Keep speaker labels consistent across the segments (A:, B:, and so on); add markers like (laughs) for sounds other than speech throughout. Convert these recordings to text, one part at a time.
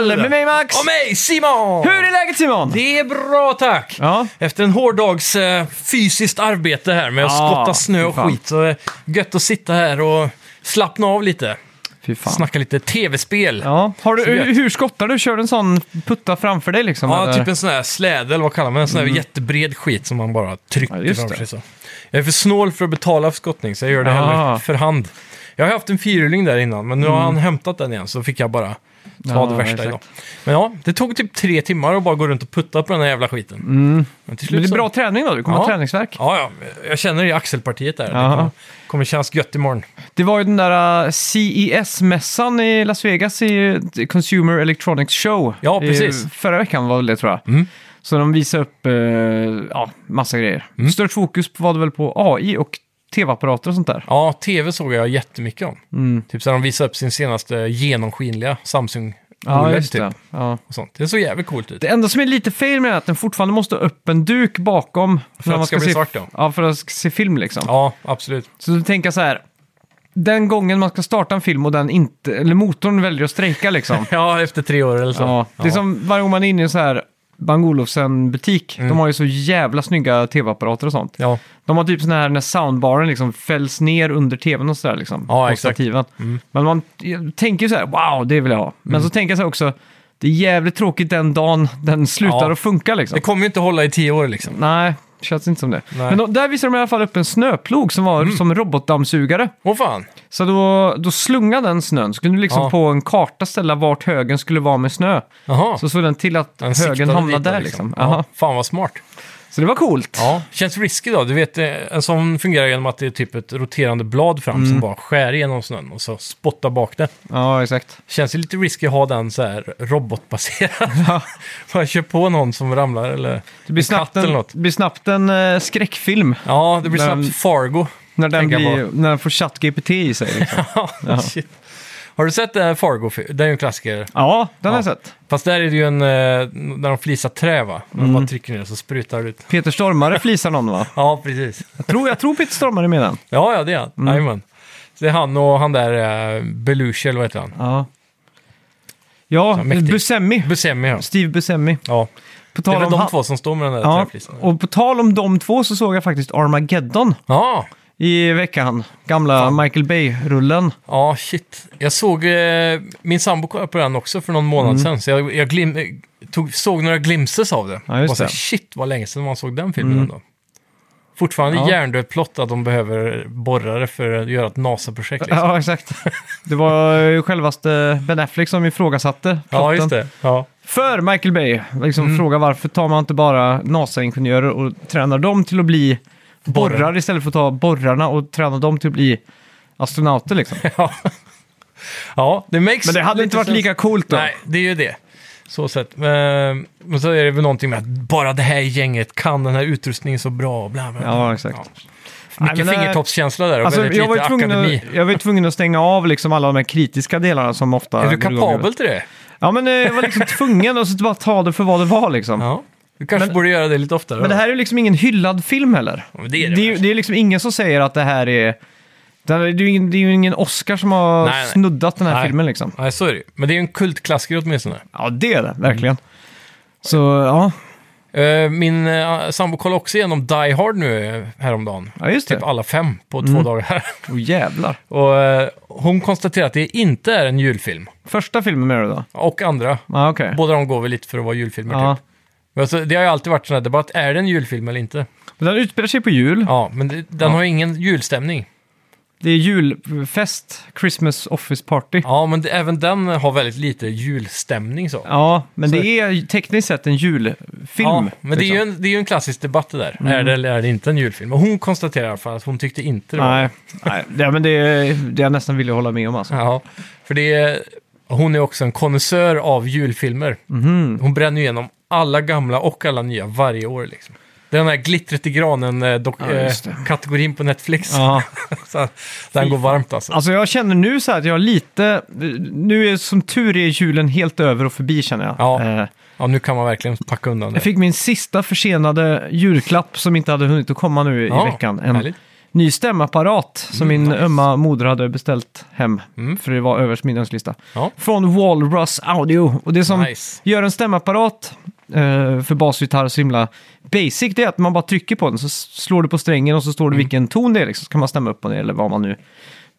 A: podden med mig Max!
B: Och mig, Simon!
A: Hur är läget Simon?
B: Det är bra tack!
A: Ja.
B: Efter en hård dags eh, fysiskt arbete här med att
A: Ja,
B: skotta snö och
A: fy fan.
B: skit så är det gött att sitta här och slappna av lite.
A: Fy fan.
B: Snacka lite tv-spel. Ja.
A: Ja. Har du,
B: Så gött.
A: hur skottar du? Kör du en sån putta framför dig liksom? eller?
B: typ en sån här släde, eller vad kallar man det? En sån här jättebred skit som man bara trycker
A: Mm. Ja, just
B: framför
A: det.
B: sig. Så. Jag är för snål för att betala för skottning, så jag gör det
A: Ah.
B: hellre för hand. Jag har haft en fyrhjuling där innan, men nu har han hämtat den igen, så fick jag bara ta
A: Mm. Ja,
B: det värsta
A: exakt.
B: idag. Men ja, det tog typ tre timmar att bara gå runt och putta på den här jävla skiten. Men till
A: Mm. Men det
B: så-
A: är bra träning då, du kommer
B: Ja.
A: ha träningsverk.
B: Ja, ja, jag känner det i axelpartiet där. Det
A: Jaha.
B: kommer, kommer kännas gött imorgon.
A: Det var ju den där äh, CES-mässan i Las Vegas, i eh, Consumer Electronics Show.
B: Ja,
A: I-
B: precis.
A: Förra veckan var väl det tror jag.
B: Mm.
A: Så de visade upp eh, ja, massa grejer.
B: Mm.
A: Stört fokus var det väl på AI och tv-apparater och sånt där. Mm.
B: Ja, tv såg jag jättemycket om. Typ så här, de visade upp sin senaste genomskinliga Samsung
A: det.
B: OLED. typ,
A: Ja.
B: och sånt. Det såg jävligt coolt ut.
A: Det enda som är lite fel med det är att den fortfarande måste ha upp en duk bakom. För
B: att det ska bli
A: se,
B: svart, ja.
A: Ja, för att se film liksom.
B: Ja, absolut.
A: Så du tänker så här. Den gången man ska starta en film och den inte, eller motorn väljer att strejka liksom.
B: (laughs) (laughs) Ja, efter tre år eller så.
A: ja. Det är som varje gång man är inne i en så här Bang Olufsen-butik.
B: Mm.
A: De har ju så jävla snygga tv-apparater och sånt.
B: Ja.
A: De har typ sån här när soundbaren liksom fälls ner under tvn och sådär liksom.
B: Ja,
A: på
B: exakt. Mm.
A: stativen. Men man jag tänker ju så här, wow, det vill jag ha. Men så tänker jag så här också, det är jävligt tråkigt den dagen den slutar
B: Ja.
A: att funka liksom.
B: Det kommer ju inte hålla i tio år liksom.
A: Nej, känns inte som det.
B: Nej. Mm.
A: Men då, där visade de i alla fall upp en snöplog som var som robotdammsugare.
B: Åh fan!
A: Så då, då slungade den snön, så kunde du liksom
B: Ja.
A: på en karta ställa vart högen skulle vara med snö.
B: Jaha.
A: Så såg den till att
B: Den
A: högen
B: siktade
A: hamnade
B: dit då,
A: där liksom.
B: Ja,
A: Jaha.
B: fan vad smart.
A: Så det var coolt.
B: Ja, känns risky då. Du vet, eh, en sån fungerar genom att det är typ ett roterande blad fram
A: Mm.
B: som bara skär igenom snön och så spottar bak det.
A: Ja, exakt.
B: Känns ju lite risky att ha den så här
A: (laughs)
B: robotbaserad. (laughs) Bara kör på någon som ramlar eller
A: Det blir
B: en katt
A: snabbt en,
B: eller något.
A: det blir snabbt en eh, skräckfilm
B: Ja, det blir
A: När
B: snabbt
A: den-
B: Fargo. (laughs)
A: när den,
B: Tänka
A: blir, när den får ChatGPT i sig. Liksom.
B: Ja, shit. Har du sett den här Fargo? Det är ju en klassiker.
A: ja, den har jag
B: (laughs) Ja.
A: sett.
B: Fast där är det ju en, eh, när de flisar trä va? Man
A: Mm.
B: bara trycker ner så sprutar det ut.
A: Peter Stormare flisar någon va?
B: Ja, precis.
A: Jag tror, jag tror Peter Stormare är med den.
B: Ja, ja det är han.
A: Mm.
B: Jajamän. Så Det är han och han där eh, Belushi, eller vad heter han?
A: Ja, ja
B: mäktig.
A: Buscemi.
B: Buscemi, ja.
A: Steve Buscemi.
B: ja.
A: På
B: Det
A: tal
B: är väl
A: om
B: de
A: han-
B: två som står med den där
A: Ja,
B: träflisan.
A: och på tal om de två så såg jag faktiskt Armageddon
B: Ja,
A: i veckan. Gamla Michael Bay-rullen.
B: Ja, shit. Jag såg, eh, min sambo kollade på den också för någon månad
A: Mm.
B: sedan, så jag, jag glim, eh, tog, såg några glimpses av det.
A: Ja, just
B: Och så här,
A: det. Mm.
B: Shit, vad länge sedan man såg den filmen ändå. Fortfarande
A: Ja.
B: hjärndöd plott att de behöver borrare för att göra ett NASA-projekt. Liksom.
A: Ja, exakt. Det var ju självaste Ben Affleck som ifrågasatte
B: Ja,
A: plotten.
B: just det. Mm. Ja.
A: För Michael Bay, liksom fråga varför tar man inte bara NASA-ingenjörer och tränar dem till att bli
B: Borrare.
A: borrar istället för att ta borrarna och träna dem till att bli astronauter liksom.
B: ja, det makes
A: Men det hade
B: lite
A: inte varit
B: sens.
A: lika coolt då.
B: Nej, det är ju det. Så sett. Men, men så är det väl någonting med att bara det här gänget kan den här utrustningen så bra. Bla, bla, bla.
A: Ja, exakt. Nej,
B: Mycket
A: men det-
B: fingertoppskänsla där och
A: Alltså,
B: väldigt
A: jag, var ju
B: lite
A: tvungen
B: akademi.
A: att, jag var ju tvungen att stänga av liksom alla de här kritiska delarna som ofta...
B: Är du
A: går igång i huvudet.
B: kapabel till det?
A: Ja, men eh, jag var
B: (laughs)
A: liksom tvungen att bara ta det för vad det var liksom.
B: Ja. Du kanske
A: Men-
B: borde göra det lite oftare.
A: Men det här är ju liksom ingen hyllad film heller.
B: Ja, men det är det
A: det, är,
B: väl.
A: det är liksom ingen som säger att det här är... Det, här, det, är, ju ingen, det är ju ingen Oscar som har
B: Nej, nej.
A: snuddat den här
B: Nej.
A: filmen liksom.
B: Nej, så är det ju. Men det är ju en kultklassiker åtminstone.
A: Ja, det är det, verkligen. Så, ja.
B: Eh, Min eh, sambo kollade också igenom Die Hard nu eh, häromdagen.
A: Ja, Mm. just det.
B: Typ alla fem på två dagar. (laughs)
A: Åh jävlar.
B: Och eh, hon konstaterar att det inte är en julfilm.
A: Första filmen med det då?
B: Och andra.
A: Ja, okej.
B: Båda de går väl lite för att vara julfilmer
A: Ja.
B: typ. Men alltså, det har ju alltid varit sån här debatt, är det en julfilm eller inte?
A: Men Den utspelar sig på jul.
B: Ja, men det, den har ju ingen julstämning.
A: Det är julfest, Christmas Office Party. Ja,
B: Ja, men det, även den har väldigt lite julstämning så.
A: men
B: Så-
A: det är ju tekniskt sett en julfilm.
B: Ja, men det är, ju
A: liksom. Mm.
B: en, det är ju en klassisk debatt det där. Är det eller är det inte en julfilm? Och hon konstaterar i alla fall att hon tyckte inte det var
A: Nej, nej det, men det är det jag nästan ville hålla med om alltså.
B: Ja, för det är, hon är också en konnässör av julfilmer.
A: Mhm. Mm.
B: Hon bränner igenom alla gamla och alla nya varje år. Liksom. Det är den här glittret i granen eh, dock,
A: Ja, just det.
B: eh, kategorin på Netflix.
A: Ja.
B: (laughs) Så, den går varmt alltså.
A: Alltså jag känner nu så här att jag har lite, nu är som tur är julen helt över och förbi känner jag.
B: Ja.
A: Eh,
B: Ja, nu kan man verkligen packa undan det.
A: jag fick min sista försenade julklapp som inte hade hunnit att komma nu i
B: Ja,
A: veckan. En
B: härligt.
A: ny stämapparat som min ömma moder hade beställt hem.
B: Mm.
A: För det var överst min önskelista.
B: Ja.
A: Från Walrus Audio. Och det som
B: Nice.
A: gör en stämapparat eh, för basgitarr så himla basic, det är att man bara trycker på den så s- slår du på strängen och så
B: Mm.
A: står det vilken ton det är. Liksom. Så kan man stämma upp och ner eller vad man nu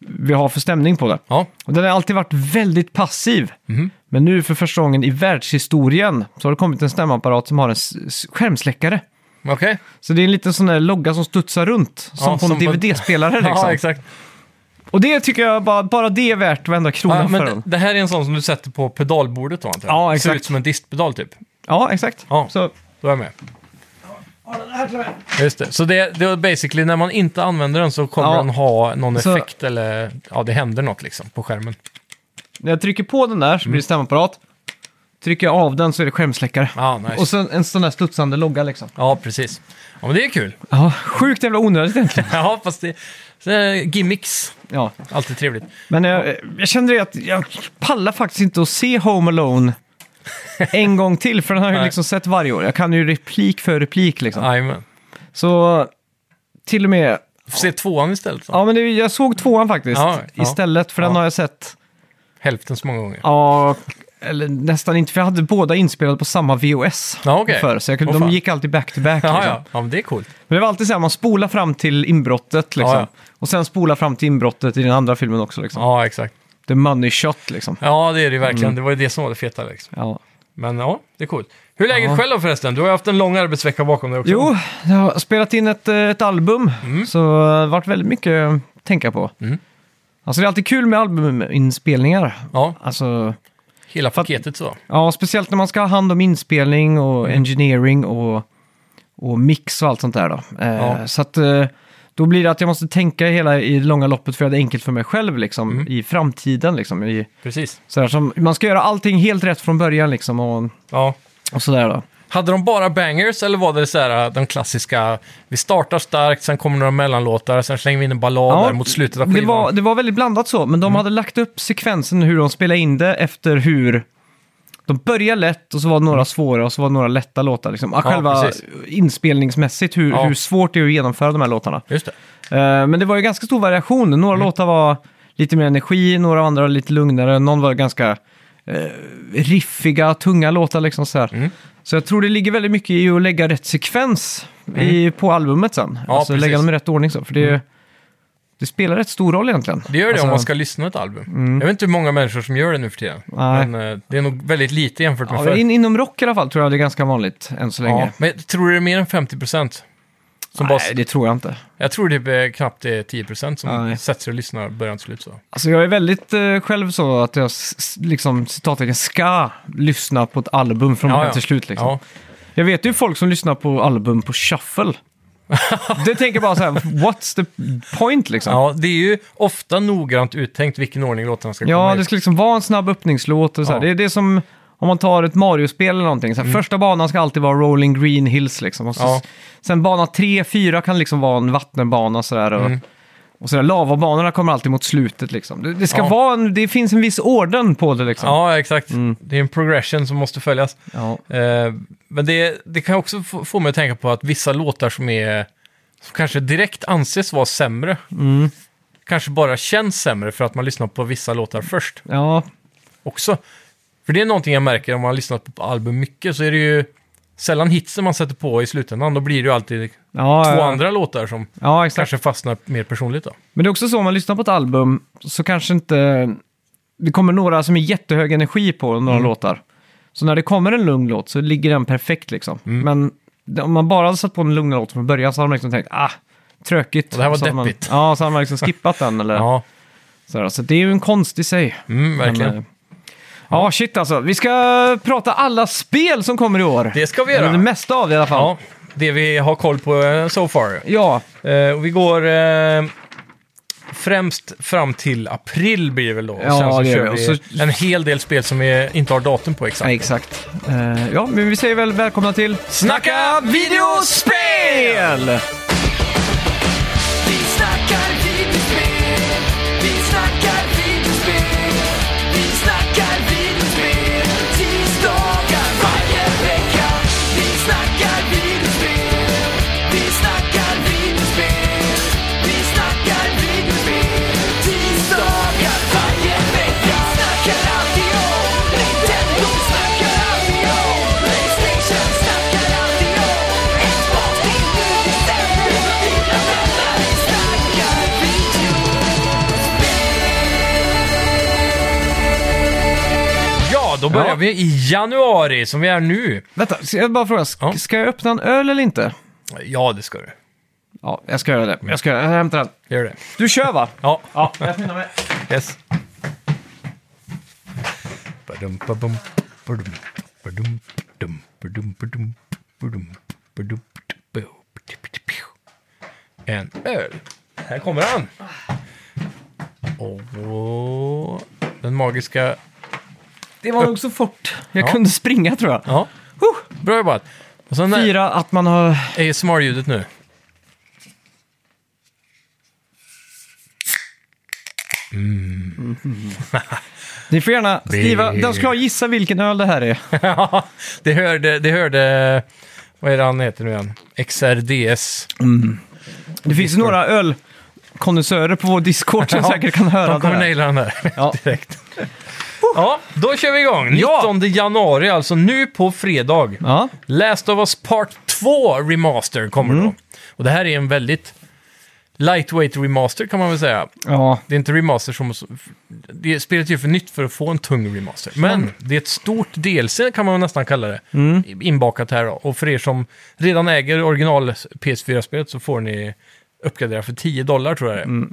A: vill ha för stämning på det.
B: Ja,
A: Och den har alltid varit väldigt passiv.
B: Mhm.
A: Men nu för första gången i världshistorien så har det kommit en stämapparat som har en s- s- skärmsläckare.
B: okej.
A: Så det är en liten sån där logga som studsar runt, som på en
B: som på-
A: DVD-spelare liksom.
B: (laughs) Ja, exakt.
A: Och det tycker jag bara, bara det är värt varenda krona
B: Ja,
A: för
B: men
A: den.
B: det, det här är en sån som du sätter på pedalbordet då, antar jag?
A: Ja,
B: Ser
A: exakt.
B: ut som en distpedal typ.
A: Ja, exakt.
B: Ja.
A: Så,
B: Då är jag med. Just det. Så det, det är basically, när man inte använder den så kommer
A: Ja.
B: den ha någon
A: Så-
B: effekt eller ja, det händer något liksom på skärmen.
A: när jag trycker på den där så blir det stämapparat. Trycker jag av den så är det skärmsläckare.
B: Ja, Mm. nice.
A: Och sen en sån där studsande logga liksom.
B: Ja, precis. Ja, men det är kul. (laughs)
A: Ja, sjukt jävla onödigt egentligen.
B: ja, fast det... Så, eh, gimmicks,
A: ja.
B: alltid trevligt.
A: Men jag, jag kände det att jag pallar faktiskt inte att se Home Alone en gång till, för den har jag ju
B: Nej.
A: liksom sett varje år. Jag kan ju replik för replik liksom.
B: Jajamän.
A: Så till och med,
B: Se tvåan istället. Så.
A: ja men det, jag såg tvåan faktiskt
B: Ja, ja.
A: istället, för den
B: Ja.
A: har jag sett,
B: Hälften så många gånger.
A: ja, eller nästan inte, för jag hade båda inspelade på samma VOS.
B: Ja, okej.
A: Förr, så jag kunde,
B: Åh,
A: de
B: fan.
A: gick alltid back to back.
B: Ja,
A: liksom.
B: ja. ja, men det är coolt.
A: Men det var alltid så här, man spolar fram till inbrottet liksom.
B: Ja, ja.
A: Och sen spola fram till inbrottet i den andra filmen också liksom.
B: Ja, exakt.
A: The money shot liksom.
B: Ja, det är det verkligen. Det var ju det som var det feta liksom.
A: Ja.
B: Men ja, det är coolt. Hur är läget
A: Ja.
B: själv då förresten? Du har ju haft en lång arbetsvecka bakom dig också.
A: Jo, jag har spelat in ett, eh, ett album, så det har varit väldigt mycket att tänka på.
B: Mm.
A: Alltså det är alltid kul med albuminspelningar.
B: Ja,
A: Alltså,
B: hela paketet så.
A: ja, speciellt när man ska ha hand om inspelning och
B: Mm.
A: engineering och, och mix och allt sånt där. Då. Eh,
B: Ja.
A: Så att, eh, då blir det att jag måste tänka hela i det långa loppet för att det är enkelt för mig själv liksom,
B: Mm.
A: i framtiden. Liksom, i,
B: Precis.
A: så där, som, man ska göra allting helt rätt från början liksom, och,
B: Ja.
A: och sådär. Då.
B: Hade de bara bangers eller var det så här, äh, de klassiska, vi startar starkt, sen kommer några mellanlåtar, sen slänger vi in en ballad
A: Ja,
B: där mot slutet av
A: Det
B: skivan? Mm.
A: var, det var väldigt blandat så, men de hade lagt upp sekvensen hur de spelade in det efter hur... De började lätt och så var det några svåra och så var det några lätta låtar. Liksom. Ja,
B: Mm. Ja,
A: Själva
B: precis.
A: inspelningsmässigt, hur,
B: Ja.
A: hur svårt det är att genomföra de här låtarna.
B: Just det.
A: Eh, men det var ju ganska stor variation. Några
B: Mm.
A: låtar var lite mer energi, några andra var lite lugnare, någon var ganska eh, riffiga, tunga låtar liksom så här.
B: Mm.
A: Så jag tror det ligger väldigt mycket i att lägga rätt sekvens i, på albumet sen.
B: Mm. Ja,
A: alltså lägga
B: precis. Mm.
A: dem i rätt ordning så, för det, det spelar rätt stor roll egentligen.
B: Det gör det
A: Alltså, Mm.
B: om man ska lyssna på ett album. Jag vet inte hur många människor som gör det nu för tiden.
A: Nej.
B: Men eh, det är nog väldigt lite jämfört med
A: Ja,
B: förr.
A: in, inom rock i alla fall tror jag det är ganska vanligt än så länge.
B: Ja, men tror du det är mer än 50 procent? Som bara,
A: Nej, det tror jag inte.
B: jag tror det är knappt det är 10 procent som
A: Nej.
B: sätter sig och lyssnar början till slut. Så.
A: Alltså jag är väldigt eh, själv så att jag s- s- liksom citattecken ska lyssna på ett album från början till slut liksom.
B: Ja.
A: Jag vet ju folk som lyssnar på album på shuffle. det tänker bara så här, what's the point liksom? Ja,
B: ja, det är ju ofta noggrant uttänkt vilken ordning låtarna ska komma i.
A: det ska liksom vara en snabb öppningslåt och så här.
B: Ja. Mm.
A: Det är det som om man tar ett Mario-spel eller någonting. Så här, Första banan ska alltid vara Rolling Green Hills liksom. Och så,
B: Ja.
A: Sen bana 3, 4 kan liksom vara en vattenbana så där. Och,
B: Mm.
A: och så där, lavabanorna kommer alltid mot slutet liksom. Det, det ska
B: Ja.
A: vara en, det finns en viss orden på det liksom.
B: Ja, exakt. Det är en progression som måste följas.
A: Ja.
B: Eh, men det, det kan också få, få mig att tänka på att vissa låtar som är som kanske direkt anses vara sämre,
A: Mm.
B: kanske bara känns sämre för att man lyssnar på vissa låtar först
A: ja,
B: också. För det är någonting jag märker om man har lyssnat på album mycket, så är det ju sällan hitsen man sätter på i slutändan. Då blir det ju alltid
A: ja,
B: två
A: ja.
B: andra låtar som
A: Ja, exakt.
B: kanske fastnar mer personligt då.
A: Men det är också så, om man lyssnar på ett album så kanske inte... Det kommer några som är jättehög energi på några
B: Mm.
A: låtar. Så när det kommer en lugn låt så ligger den perfekt liksom.
B: Mm.
A: Men det- om man bara hade satt på en lugn låt från början så hade man liksom tänkt ah, tråkigt.
B: Och det här var
A: så hade man,
B: deppigt.
A: Ja, så hade man liksom skippat den eller
B: (laughs) Ja,
A: sådär. Så det är ju en konst i sig.
B: mm, verkligen.
A: Men, eh, Ja, shit alltså. Vi ska prata alla spel som kommer i år.
B: det ska vi
A: Eller det
B: göra.
A: mesta av det i alla fall.
B: Ja, det vi har koll på eh, so far.
A: Ja,
B: Eh, och vi går eh, främst fram till april blir det väl då.
A: Ja,
B: och sen så
A: det gör
B: kör
A: vi.
B: vi
A: Och så-
B: en hel del spel som vi inte har datum på exakt.
A: ja, exakt. Eh, ja, men vi säger väl välkomna till
B: Snacka
A: videospel!
C: Vi snackar videospel, vi snackar videospel, vi snackar videospel, tisdagar varje vecka. Vi snackar videospel, vi snackar videospel, vi snackar
B: Då börjar
A: Ja.
B: vi i januari, som vi är nu.
A: Vänta, ska jag bara fråga, ska,
B: Ja.
A: ska jag öppna en öl eller inte?
B: Ja, det ska du.
A: Ja, jag ska göra det. Jag ska jag hämtar den.
B: Gör det.
A: Du kör va?
B: Ja.
A: Ja, jag skyndar mig.
B: Yes. Badum, badum, badum, badum, badum, badum, badum, badum, badum, badum, En öl. Här kommer han! Och den magiska...
A: Det var nog så fort jag
B: Ja.
A: kunde springa tror jag.
B: Ja,
A: Huh!
B: bra jobbat! Och sen är
A: Fira att man har...
B: ASMR-ljudet nu. (laughs)
A: Ni får gärna skriva. De ska gissa vilken öl det här är.
B: Ja, det hörde, det hörde... Vad är det han heter nu igen? XRDS.
A: Det finns ju några ölkonnässörer på vår Discord som
B: Ja,
A: säkert kan höra
B: De
A: det
B: kommer
A: här.
B: naila den där
A: Ja.
B: (laughs) direkt. Ja, då kör vi igång. 19
A: Ja!
B: januari, alltså nu på fredag.
A: Ja.
B: Last of Us Part 2 Remaster kommer då. Och det här är en väldigt lightweight remaster kan man väl säga.
A: ja,
B: Det är inte remaster som... Det är spelet är ju för nytt för att få en tung remaster. Men det är ett stort DLC kan man väl nästan kalla det. Inbakat här då. Och för er som redan äger original PS4-spelet så får ni uppgradera för 10 dollar tror jag det är.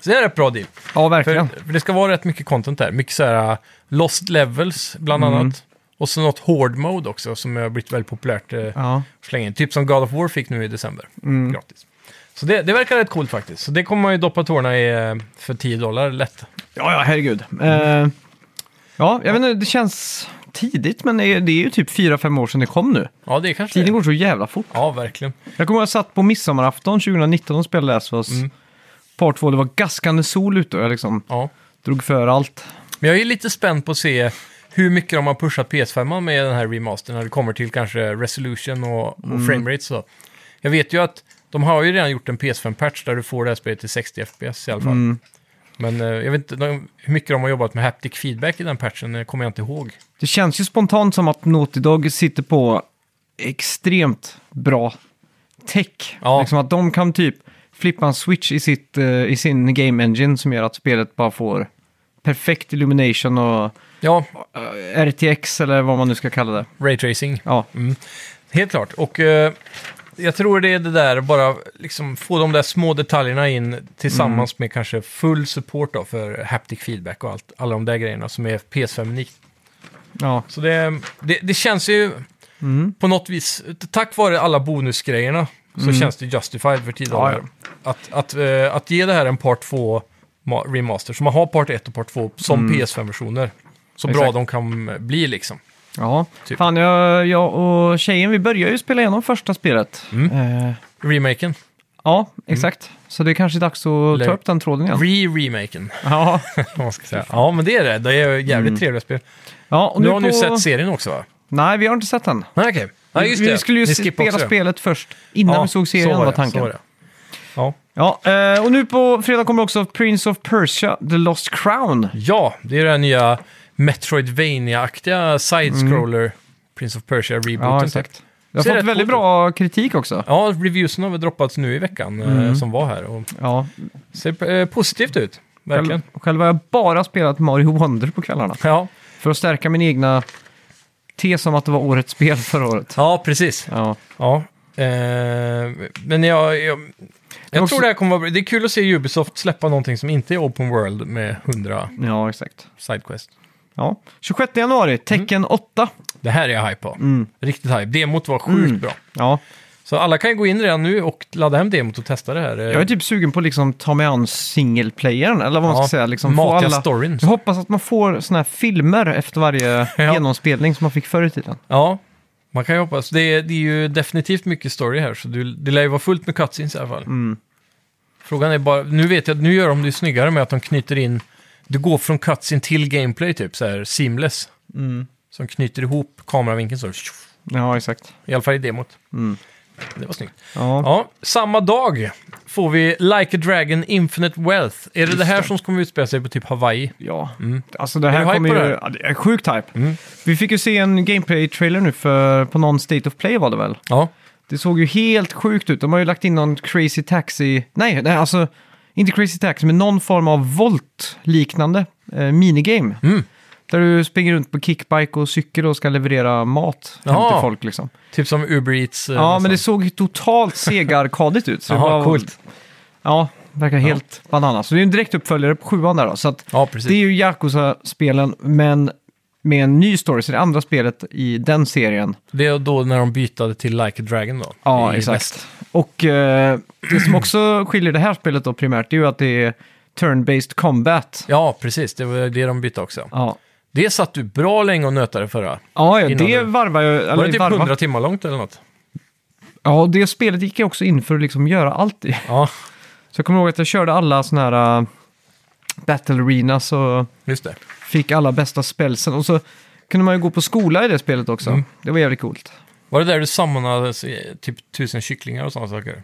B: Så det är en rätt bra deal.
A: ja
B: För,
A: verkligen.
B: för det ska vara rätt mycket content där. Mycket så här uh, lost levels bland
A: Mm.
B: annat. Och så något hård mode också som har blivit väldigt populärt eh,
A: Ja. Mm.
B: slänga in. Typ som God of War fick nu i december. Gratis. Så det, det verkar rätt coolt faktiskt. Så det kommer man ju doppa tårna i eh, för 10 dollar lätt.
A: ja, ja, herregud. Eh, ja, jag vet inte, det känns tidigt, men det är, det är ju typ 4-5 år sedan det kom nu.
B: Ja, det kanske det
A: Tiden
B: är.
A: går så jävla fort.
B: Ja, verkligen.
A: Jag kommer ihåg att jag satt på midsommarafton 2019 och spelade Last of Us Part 2. Det var gaskande sol ute och jag liksom
B: Ja.
A: drog för allt.
B: Men jag är ju lite spänd på att se hur mycket de har pushat PS5 med den här remastern när det kommer till kanske resolution och, och framerate. Så. Jag vet ju att de har ju redan gjort en PS5-patch där du får det här spelet till 60 FPS i alla fall. Men eh, jag vet inte de, hur mycket de har jobbat med haptic feedback i den patchen, eh, kommer jag inte ihåg.
A: Det känns ju spontant som att Naughty Dog sitter på extremt bra tech.
B: Ja.
A: Liksom att de kan typ flippa en switch i, sitt, eh, i sin game engine som gör att spelet bara får perfekt illumination och
B: Ja,
A: eh, RTX eller vad man nu ska kalla det.
B: ray tracing.
A: Ja,
B: Helt klart. Och eh, jag tror det är det där, bara liksom få de där små detaljerna in tillsammans med kanske full support då för haptic feedback och allt, alla de där grejerna som är PS5-unikt.
A: ja. Mm.
B: Så det, det, det känns ju på något vis, tack vare alla bonusgrejerna, så känns det justified för tiden.
A: Mm. Ja, ja.
B: Att, att, eh, att ge det här en part 2 ma- remaster, så man har part 1 och part 2 som PS5-versioner. Så bra
A: Mm. Exakt.
B: de kan bli liksom.
A: ja.
B: Typ.
A: Fan, jag, jag och tjejen, vi började ju spela igenom första spelet.
B: Mm.
A: Eh,
B: Remaken,
A: ja, exakt.
B: Mm.
A: Så det är kanske dags att
B: Eller-
A: ta upp den tråden igen.
B: re-remaken.
A: (laughs) Ja,
B: vad man ska säga. Ja, men det är det. Det är jävligt trevliga spel.
A: ja Mm. och
B: Du
A: nu
B: har
A: på...
B: nu sett serien också va?
A: Nej, vi har inte sett den.
B: Nej, okej. Nej, just
A: vi
B: det.
A: skulle ju
B: Ni skippade
A: spela
B: också det.
A: spelet först, innan vi såg serien
B: så
A: var,
B: det,
A: tanken.
B: så var det. Ja.
A: Ja, eh, och nu på fredag kommer också Prince of Persia, The Lost Crown.
B: ja, det är den nya Metroidvania-aktiga side-scroller Prince of Persia rebooten. typ.
A: Det har
B: Ser
A: fått
B: rätt
A: väldigt
B: coolt ut.
A: bra kritik också.
B: Ja, reviewsen har väl droppats nu i veckan eh,
A: Mm.
B: som var här. Och
A: Ja,
B: ser eh, positivt ut,
A: själv,
B: verkligen.
A: själv har jag bara spelat Mario Wonder på kvällarna.
B: Ja,
A: För att stärka min egna tes om att det var årets spel förra året.
B: ja precis.
A: Ja,
B: Ja. Eh, men jag, jag, jag
A: också-
B: tror det här kommer vara bra. Det är kul att se Ubisoft släppa någonting som inte är open world med 100
A: ja exakt.
B: sidequest.
A: Ja. 26 januari, Tecken
B: Mm.
A: 8.
B: Det här är jag hype på. Riktigt hype. Demot var sjukt
A: Mm.
B: bra.
A: Ja.
B: Så alla kan ju gå in redan nu och ladda hem demot och testa det här. eh,
A: Jag är typ sugen på att liksom ta mig an singleplayern, eller vad man
B: eh, Ja,
A: ska säga. Liksom få
B: matiga
A: alla...
B: storyn.
A: Jag hoppas att man får såna här filmer efter varje
B: (laughs) Ja.
A: genomspelning som man fick förr i tiden.
B: Ja, man kan ju hoppas. Det är, det är ju definitivt mycket story här, så du, det lär ju vara fullt med cutscenes i alla fall.
A: Mm.
B: Frågan är bara, nu vet jag att nu gör de det ju snyggare med att de knyter in, du går från cutscene till gameplay typ, så här seamless. Som knyter ihop kameravinkeln så, tjoff,
A: Ja, exakt. Mm.
B: i alla fall i demot. Det var snyggt.
A: Ja.
B: Ja, samma dag får vi Like a Dragon Infinite Wealth. Är det det här som kommer utspela sig på typ Hawaii?
A: ja. Alltså det
B: Mm. du
A: här
B: hype
A: kommer ju...
B: på det här? Mm.
A: Ja, det är sjukt hype. Vi fick ju se en gameplay-trailer nu för, på någon State of Play var det väl?
B: Ja.
A: Det såg ju helt sjukt ut. De har ju lagt in någon Crazy Taxi... Nej, nej alltså... Inte Crazy Taxi, men någon form av Volt-liknande eh, minigame. Där du springer runt på kickbike och cykel och ska leverera mat hem
B: Jaha.
A: till folk liksom.
B: Typ som Uber Eats. eh,
A: Ja,
B: nästan.
A: men det såg totalt segarkadigt ut. Så det
B: Jaha,
A: var-
B: coolt.
A: Ja, verkar helt bananas. Så det är ju en direktuppföljare på sjuan där då. Så att
B: Ja, precis.
A: det är ju Yakuza-spelen, men med en ny story. Så det är andra spelet i den serien.
B: Det är då när de bytade till Like a Dragon då.
A: Ja,
B: i
A: exakt.
B: väst.
A: Och eh, det som också skiljer det här spelet då primärt, det är ju att det är turn-based combat.
B: Ja, precis. Det var det de bytte också.
A: Ja,
B: Det satt du bra länge och nötade förra.
A: ja, ja
B: Innan
A: det
B: det-
A: varvar jag.
B: Var
A: eller
B: det typ
A: varvar.
B: 100 timmar långt eller något?
A: Ja, och det spelet gick jag också in för att liksom göra allt i. (laughs)
B: Ja,
A: Så jag kommer ihåg att jag körde alla sådana här äh, battle arenas och
B: just det.
A: fick alla bästa spelsen. Och så kunde man ju gå på skola i det spelet också. Det var jävligt coolt.
B: Var det där du sammanade typ tusen kycklingar och sådana saker?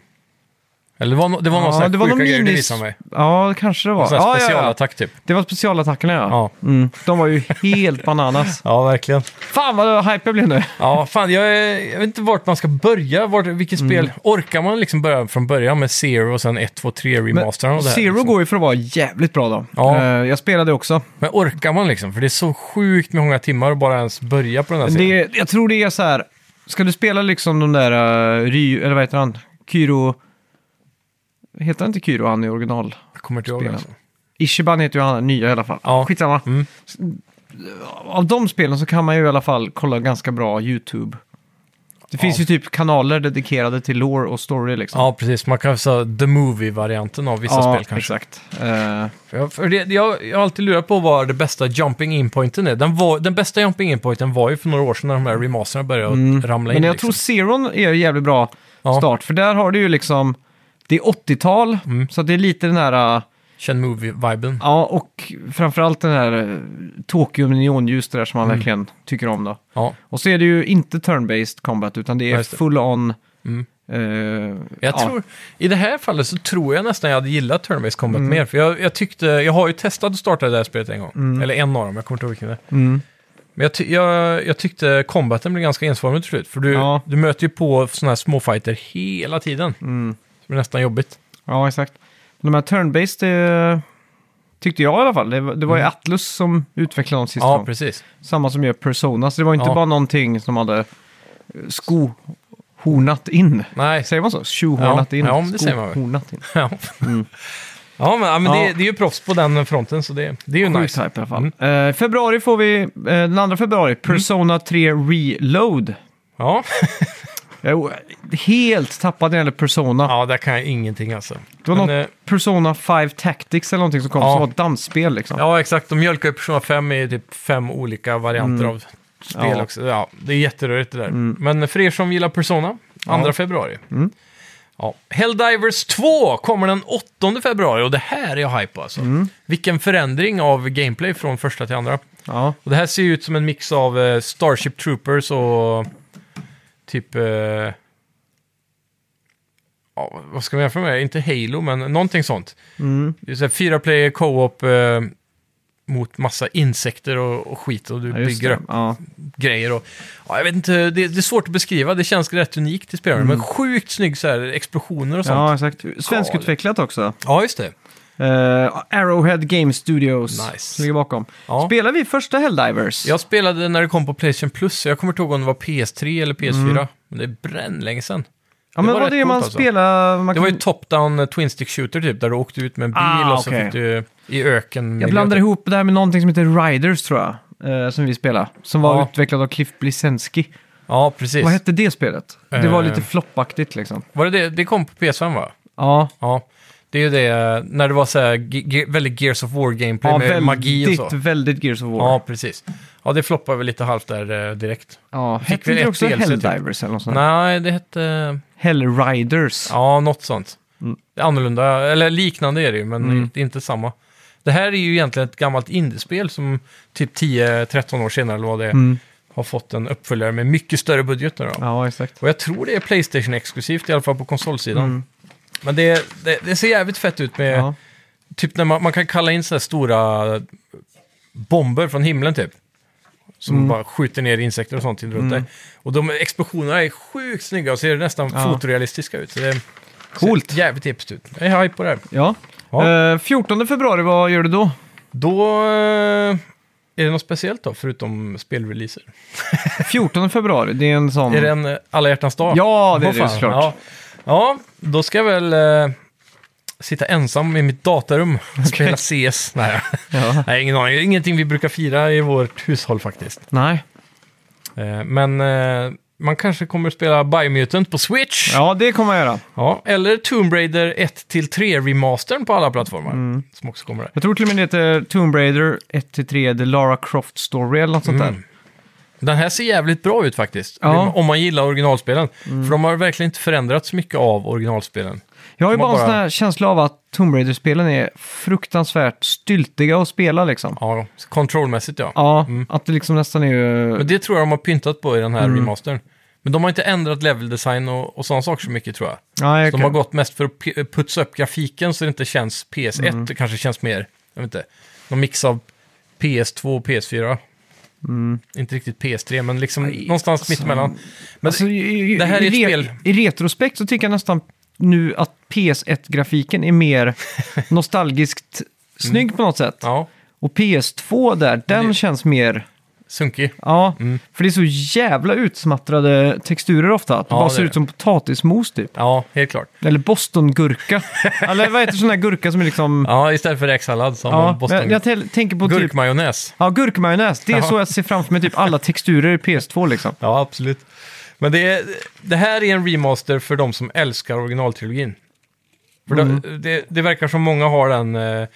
B: Eller det var, no- det var någon sån här
A: det var
B: sjuka
A: någon
B: grej du
A: minis-
B: visade mig?
A: Ja, kanske det var.
B: Någon sån här
A: Ja, ja, ja.
B: specialattack typ.
A: Det var specialattackerna ja.
B: Ja.
A: Mm. De var ju helt (laughs) bananas.
B: ja, verkligen.
A: Fan vad hype jag blev nu.
B: Ja, fan, jag, är- jag vet inte vart man ska börja. Vart, vilket
A: Mm.
B: spel orkar man liksom börja från början med Zero och sen 1, 2, 3 remastern och det här,
A: Zero
B: liksom?
A: går ju för att vara jävligt bra då.
B: Ja.
A: Eh, jag spelade också.
B: Men orkar man liksom? För det är så sjukt med många timmar att bara ens börja på den här
A: Men
B: serien.
A: Det, jag tror det är så här. Ska du spela liksom de där eh, Ry, eller vad heter han? Kyro... Heter han inte Kyro han i original?
B: Jag kommer inte ihåg.
A: spelen.
B: Alltså.
A: Ishiban heter ju han den nya i alla fall.
B: Ja.
A: Skitsamma.
B: Mm.
A: Av de spelen så kan man ju i alla fall kolla ganska bra YouTube. Det finns ju typ kanaler dedikerade till lore och story liksom.
B: Ja, precis. Man kan säga the movie-varianten av vissa spel kanske.
A: exakt. Eh,
B: För jag, för det, jag, jag har alltid lurat på vad det bästa jumping in-pointen är. Den, var, den bästa jumping in-pointen var ju för några år sedan när de här remasterna började att ramla in.
A: Mm. men jag
B: liksom.
A: tror Zeron är en jävligt bra
B: Ja.
A: start. För där har du ju liksom, det är 80-tal,
B: Mm.
A: så att det är lite den här... eh,
B: Känn movie-viben.
A: Ja, och framförallt den här eh, Tokyo med neonljus det där som man
B: Mm.
A: verkligen tycker om då.
B: Ja.
A: Och så är det ju inte turn-based combat utan det
B: Ja,
A: är
B: just det.
A: full on...
B: Mm.
A: eh,
B: Jag
A: ja.
B: tror, I det här fallet så tror jag nästan jag hade gillat Turn-Based Combat
A: Mm.
B: mer. För jag, jag tyckte, jag har ju testat att starta det här spelet en gång. Eller en av dem, jag kommer inte ihåg vilken det är.
A: Mm.
B: Men jag, ty- jag, jag tyckte combaten blev ganska ensformig till slut. För du,
A: Ja.
B: du möter ju på sådana här småfighter hela tiden.
A: Mm.
B: Det blir nästan jobbigt.
A: Ja, exakt. De här turn-based eh, tyckte jag i alla fall. Det, var- det var ju Atlus som utvecklade dem sist
B: Mm. Ja,
A: gång.
B: precis.
A: Samma som gör Persona, så det var inte
B: Ja.
A: bara någonting som hade eh, skohornat in.
B: Nej, (laughs)
A: Säger man så? Tjohornat
B: Ja,
A: in?
B: ja, men det säger man väl.
A: Skohornat in.
B: Ja, ja men, ja, men
A: Mm. Ja.
B: Det, det är ju proffs på den fronten, så det, det är ju
A: Sjukt
B: nice. Mm.
A: hype i alla fall. Eh, februari får vi, eh, den andra februari, Persona 3 Reload.
B: Ja.
A: Jag är o- helt tappad när det gäller Persona.
B: ja, där kan jag ingenting alltså.
A: det var
B: Men,
A: något
B: eh,
A: Persona 5 Tactics eller någonting som kom
B: Ja.
A: som var ett dansspel liksom.
B: Ja, exakt. De mjölkar ju Persona 5 i typ fem olika varianter av spel
A: Mm. Ja. Mm.
B: också. Ja, det är jätterörigt det där. Men för er som gillar Persona, 2 februari. Ja. Helldivers 2 kommer den 8 februari och det här är jag hype på alltså.
A: Mm.
B: Vilken förändring av gameplay från första till andra.
A: Ja.
B: Och det här ser ju ut som en mix av eh, Starship Troopers och typ... Eh, ja, vad ska man jämföra med? Inte Halo, men någonting sånt.
A: Mm.
B: Det är så här fyra player co-op eh, mot massa insekter och, och skit och du
A: Ja, just
B: bygger
A: det.
B: upp
A: Ja.
B: grejer. Och, ja, jag vet inte, det, det är svårt att beskriva. Det känns rätt unikt i spelaren, men sjukt snygg så här explosioner och sånt.
A: Mm. ja,
B: Ja,
A: exakt. Svenskutvecklat också.
B: just det.
A: Eh, Arrowhead Game Studios
B: Nice.
A: ligger bakom.
B: Ja.
A: Spelar vi första Helldivers?
B: Jag spelade när det kom på Playstation Plus, jag kommer inte ihåg om det var PS3 eller PS4. Men det är brännlänge sedan.
A: Mm. ja, men
B: var
A: vad
B: rätt
A: det är man
B: coolt alltså.
A: spelar... Man
B: Det var ju
A: kan-
B: top-down eh, twin stick shooter typ, där du åkte ut med en bil
A: Mm. Ah,
B: och så
A: okej.
B: fick du i öken. typ.
A: Jag blandar ihop det här med någonting som heter Riders tror jag. eh, som vi spelade. Som var
B: Ja.
A: utvecklad av Cliff Blesensky.
B: Ja, precis.
A: Vad hette det spelet? Det var lite
B: Eh.
A: floppaktigt liksom.
B: Var det, det det kom på PS5 va?
A: Ja,
B: Ja, det är ju det eh, när det var så här, ge- ge- väldigt Gears of War-gameplay
A: ja
B: med
A: väldigt,
B: magi och så.
A: väldigt Gears of War.
B: Ja,
A: Ja,
B: precis. Ja, det floppade väl lite halvt där eh, direkt. Fick
A: hette
B: väl
A: det
B: ett
A: också
B: DLC, typ.
A: Helldivers eller något sånt? där?
B: Nej, det hette... eh,
A: Hellriders.
B: Ja, något sånt.
A: Mm.
B: Det är Annorlunda, eller liknande är det ju, men det är inte samma. Det här är ju egentligen ett gammalt indiespel som typ 10-13 år senare, eller vad det
A: Mm.
B: är, har fått en uppföljare med mycket större budget nu då.
A: Ja, exakt.
B: Och jag tror det är Playstation-exklusivt, i alla fall på konsolsidan. Men det, det, det ser jävligt fett ut med...
A: Mm. Ja.
B: Typ när man, man kan kalla in så här stora bomber från himlen typ. Som
A: Mm.
B: bara skjuter ner insekter och sånt till runt dig. Och de explosionerna är sjukt snygga och ser nästan
A: Ja.
B: fotorealistiska ut. Så det ser
A: Coolt.
B: jävligt hippt ut. Jag är hype på det här.
A: Ja.
B: Ja.
A: Eh, 14 februari, vad gör du då?
B: Då... eh, Är det något speciellt då, förutom spelreleaser?
A: 14 februari, det är en sån...
B: Är det en eh, alla hjärtans dag?
A: Ja, det är
B: Åh,
A: det
B: fan.
A: såklart.
B: Ja. ja, då ska jag väl eh, sitta ensam i mitt datarum och spela CS. Nej,
A: Ja.
B: nej, ingen aning. Det är Ingenting vi brukar fira i vårt hushåll faktiskt.
A: Nej.
B: Eh, men eh, man kanske kommer spela Biomutant på Switch.
A: Ja, det kommer jag göra.
B: Ja, eller Tomb Raider 1-3 remastern på alla plattformar.
A: Mm.
B: Som också kommer där.
A: Jag tror till och med det heter Tomb Raider 1-3, The Lara Croft Story eller något sånt där.
B: Mm. Den här ser jävligt bra ut faktiskt.
A: Ja. Mm.
B: Om man gillar originalspelen. För de har verkligen inte förändrats mycket av originalspelen.
A: Jag har ju
B: Man
A: bara en
B: bara-
A: sån här känsla av att Tomb Raider-spelen är fruktansvärt styltiga att spela liksom.
B: Ja, kontrollmässigt ja.
A: Ja, att det liksom nästan är ju...
B: Mm. Men det tror jag de har pyntat på i den här
A: Mm.
B: remastern. Men de har inte ändrat leveldesign och, och sådana saker så mycket tror jag.
A: Nej,
B: Så
A: okej.
B: de har gått mest för att p- putsa upp grafiken så det inte känns PS1.
A: Mm.
B: Det kanske känns mer, jag vet inte, någon mix av PS2 och PS4.
A: Mm.
B: Inte riktigt PS3, men liksom någonstans mittemellan. Men
A: Alltså, i, i,
B: det här är ett
A: i, re-
B: spel-
A: I retrospekt så tycker jag nästan nu att PS1-grafiken är
B: (laughs)
A: mer nostalgiskt snygg på något sätt.
B: Mm. ja,
A: Och PS2 där, den
B: det- Mm.
A: känns mer...
B: sunkig.
A: Ja, för det är så jävla utsmattrade texturer ofta. Att det
B: Ja,
A: bara
B: det
A: ser
B: är
A: ut
B: det.
A: som potatismos typ.
B: Ja, helt klart.
A: Eller
B: (laughs)
A: bostongurka. Eller vad heter sån där gurka som är liksom...
B: Ja, istället för räksallad så har
A: Ja,
B: man Boston.
A: jag, jag tä- tänker på typ...
B: Gurkmajonnäs.
A: Ja, gurkmajonnäs. Det är så jag ser framför mig typ alla texturer i PS2 liksom.
B: Ja, absolut. Men det, är, det här är en remaster för de som älskar originaltrilogin. För det,
A: Mm.
B: det, det verkar som många har den, eh,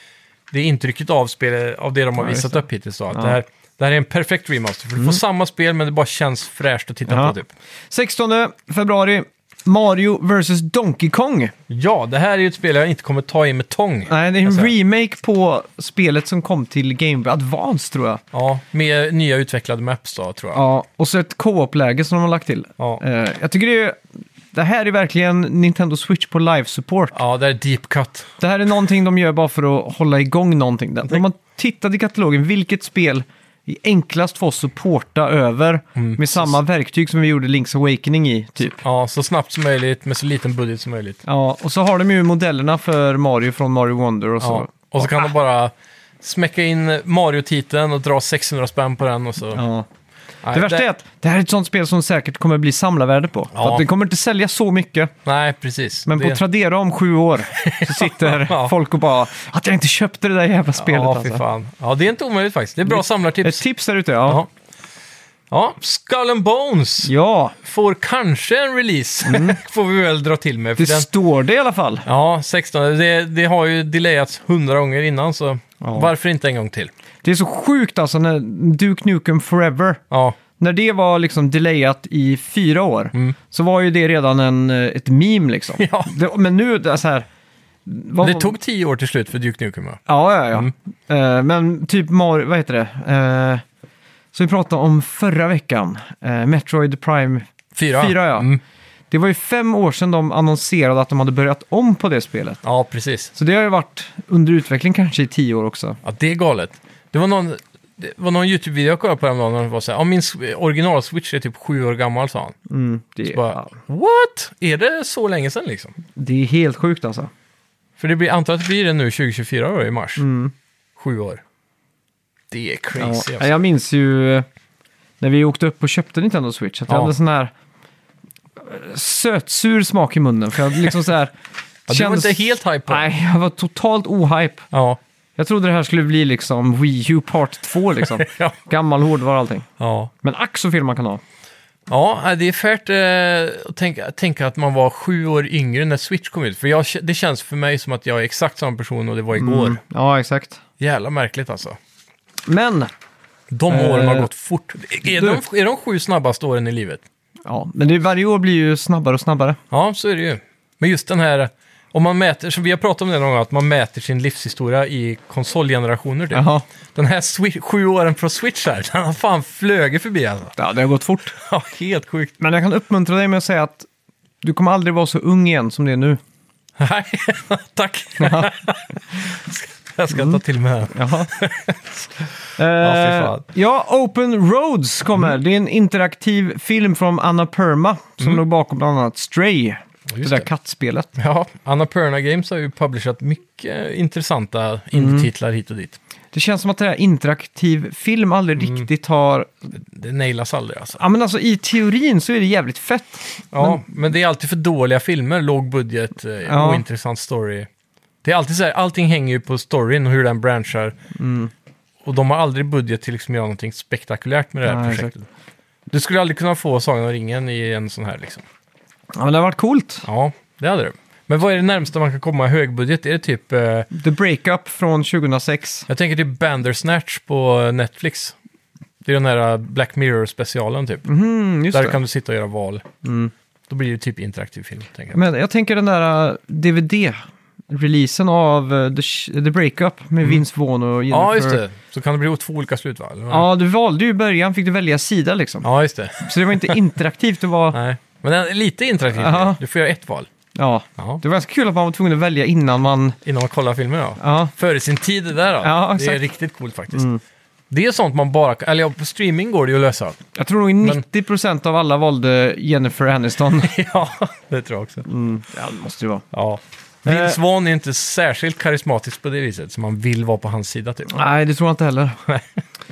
B: det intrycket av, spel, av det de har
A: Ja, just
B: visat
A: det.
B: upp hittills. Då, att det, här, det här är en perfekt remaster. För du får samma spel men det bara känns fräscht att titta
A: Ja.
B: på. Typ.
A: 16 februari, Mario vs Donkey Kong.
B: Ja, det här är ju ett spel jag inte kommer ta i med tång.
A: Nej, det är en
B: Alltså.
A: remake på spelet som kom till Game Boy Advance tror jag.
B: Ja, med nya utvecklade maps då, tror jag.
A: Ja, och så ett co-op-läge som de har lagt till.
B: Ja.
A: Eh, jag tycker det är... Det här är verkligen Nintendo Switch på live support.
B: Ja, det här är deep cut.
A: Det här är någonting de gör bara för att hålla igång någonting. De har tittat i katalogen, vilket spel är enklast för oss att porta över med samma verktyg som vi gjorde Link's Awakening i, typ.
B: Ja, så snabbt som möjligt med så liten budget som möjligt.
A: Ja, och så har de ju modellerna för Mario från Mario Wonder och så.
B: Ja. Och så kan de bara smäcka in Mario-titeln och dra 600 spänn på den och så.
A: Ja.
B: Nej,
A: Det värsta är att det här är ett sånt spel som säkert kommer bli samlarvärde på. För
B: Ja.
A: att det kommer inte sälja så mycket,
B: Nej, precis.
A: men på
B: Det-
A: Tradera om sju år så sitter
B: (laughs) Ja.
A: folk och bara att jag inte köpte det där jävla spelet.
B: Ja, fy
A: alltså.
B: fan. Ja, det är inte omöjligt faktiskt. Det är bra
A: Ett
B: samlartips.
A: tips där ute, ja.
B: Ja. Ja, Skull and Bones
A: Ja, Mm.
B: får kanske en release. (laughs) får vi väl dra till med. För
A: det
B: den,
A: står det i alla fall.
B: ja, 16. Det, det har ju delayats hundra gånger innan, så varför inte en gång till?
A: Det är så sjukt alltså när Duke Nukem Forever,
B: Ja,
A: när det var liksom delayat i fyra år, så var ju det redan en, eh, ett meme liksom.
B: Mm. (laughs) Ja.
A: Det, men nu, det är så här... vad-
B: det tog tio år till slut för Duke Nukem. va?
A: Ja, ja, ja.
B: Mm.
A: Eh, men typ Mario, vad heter det? Eh, så vi pratade om förra veckan, eh, Metroid Prime
B: Fyra.
A: 4, ja.
B: Mm.
A: Det var ju fem år sedan de annonserade att de hade börjat om på det spelet.
B: Ja, precis.
A: Så det har ju varit under utveckling kanske i tio år också.
B: Ja, det är galet. Det var någon, det var någon YouTube-video jag kollade på häromdagen när det var så här, ja, min s- original-switch är typ sju år gammal, sa han.
A: Mm, det,
B: Bara,
A: ja,
B: What? Är det så länge sedan liksom?
A: det är helt sjukt alltså.
B: För det blir, antar att det blir det nu 2024 då, i mars. Sju år. Det är crazy.
A: Mm. Ja,
B: alltså.
A: jag minns ju eh, när vi åkte upp och köpte Nintendo Switch att jag
B: Ja.
A: hade sån här eh, sötsur smak i munnen. För jag liksom så här...
B: (laughs) Ja, du var inte helt hype på det.
A: Nej, jag var totalt ohype.
B: Ja,
A: Jag trodde det här skulle bli liksom Wii U Part 2 liksom.
B: (laughs) Ja.
A: Gammal hårdvara och allting.
B: ja.
A: Men ack så fel man kan ha.
B: ja, nej, det är färt eh, att tänka, tänka att man var sju år yngre när Switch kom ut. För jag, det känns för mig som att jag är exakt samma person och det var igår.
A: Ja, exakt.
B: Jävla märkligt alltså.
A: Men,
B: De åren har
A: Eh,
B: gått fort. Är de, är de sju snabbaste åren i livet?
A: ja, men det, varje år blir ju snabbare och snabbare.
B: Ja, så är det ju. Men just den här, om man mäter, som vi har pratat om det någon gång, att man mäter sin livshistoria i konsolgenerationer. Typ.
A: Jaha.
B: Den här swi- sju åren från Switch här, (laughs) den har fan flög förbi alltså.
A: Ja, det har gått fort.
B: Ja, helt sjukt.
A: Men jag kan uppmuntra dig med att säga att du kommer aldrig vara så ung igen som det är nu.
B: Nej, (laughs) tack. (laughs) Jag ska ta till mig det här.
A: (laughs) Jaha. ja,
B: fy fan.
A: Eh,
B: Mm.
A: ja, Open Roads kommer. Det är en interaktiv film från Anna Perma som låg bakom bland annat Stray. det
B: Just
A: där
B: det.
A: kattspelet.
B: Ja, Annapurna Games har ju publicerat mycket intressanta indie-titlar hit och dit.
A: Det känns som att det här interaktiv film aldrig
B: Mm.
A: riktigt har...
B: Det nailas aldrig alltså.
A: Ja, men alltså i teorin så är det jävligt fett.
B: Ja, men, det är alltid för dåliga filmer, låg budget, eh,
A: Ja.
B: ointressant story. Det är alltid så här, allting hänger ju på storyn och hur den branchar.
A: Mm.
B: Och de har aldrig budget till liksom att göra någonting spektakulärt med det här
A: Nej,
B: projektet. Du skulle aldrig kunna få Sagan om ringen i en sån här liksom.
A: Ja, men det har varit coolt.
B: Ja, det hade du. Men vad är det närmsta man kan komma högbudget? Är det typ, eh,
A: The Breakup från 2006.
B: jag tänker typ Bandersnatch på eh, Netflix. Det är den här Black Mirror-specialen typ.
A: Mm, just
B: Där
A: det.
B: kan du sitta och göra val.
A: Mm.
B: Då blir det typ interaktiv film, tänker jag.
A: Men jag tänker den där eh, DVD-releasen av eh, The, Sh- The Breakup med Vince Vaughn och Jennifer.
B: Mm. Ja, just det. Så kan det bli två olika slut, va? Eller vad?
A: Ja, du valde ju i början, fick du välja sida liksom.
B: Ja, just det.
A: Så det var
B: (laughs)
A: inte interaktivt, det var...
B: Nej. Men den är lite interaktiv.
A: Ja.
B: Du får göra ett val.
A: Ja.
B: Ja.
A: Det var ganska kul att man var tvungen att välja innan man...
B: Innan man kollar filmen, ja.
A: Ja,
B: Före sin tid det där, då.
A: Ja,
B: Det är
A: exakt.
B: riktigt coolt faktiskt. Det är sånt man bara... Eller ja, på streaming går det ju att lösa.
A: jag tror nog 90% av alla valde Jennifer
B: (laughs)
A: Aniston.
B: ja, det tror jag också.
A: ja, det måste det vara.
B: Mm. Ja. Vince Vaughn är inte särskilt karismatisk på det viset, så man vill vara på hans sida typ.
A: Nej, det tror jag inte heller. (laughs)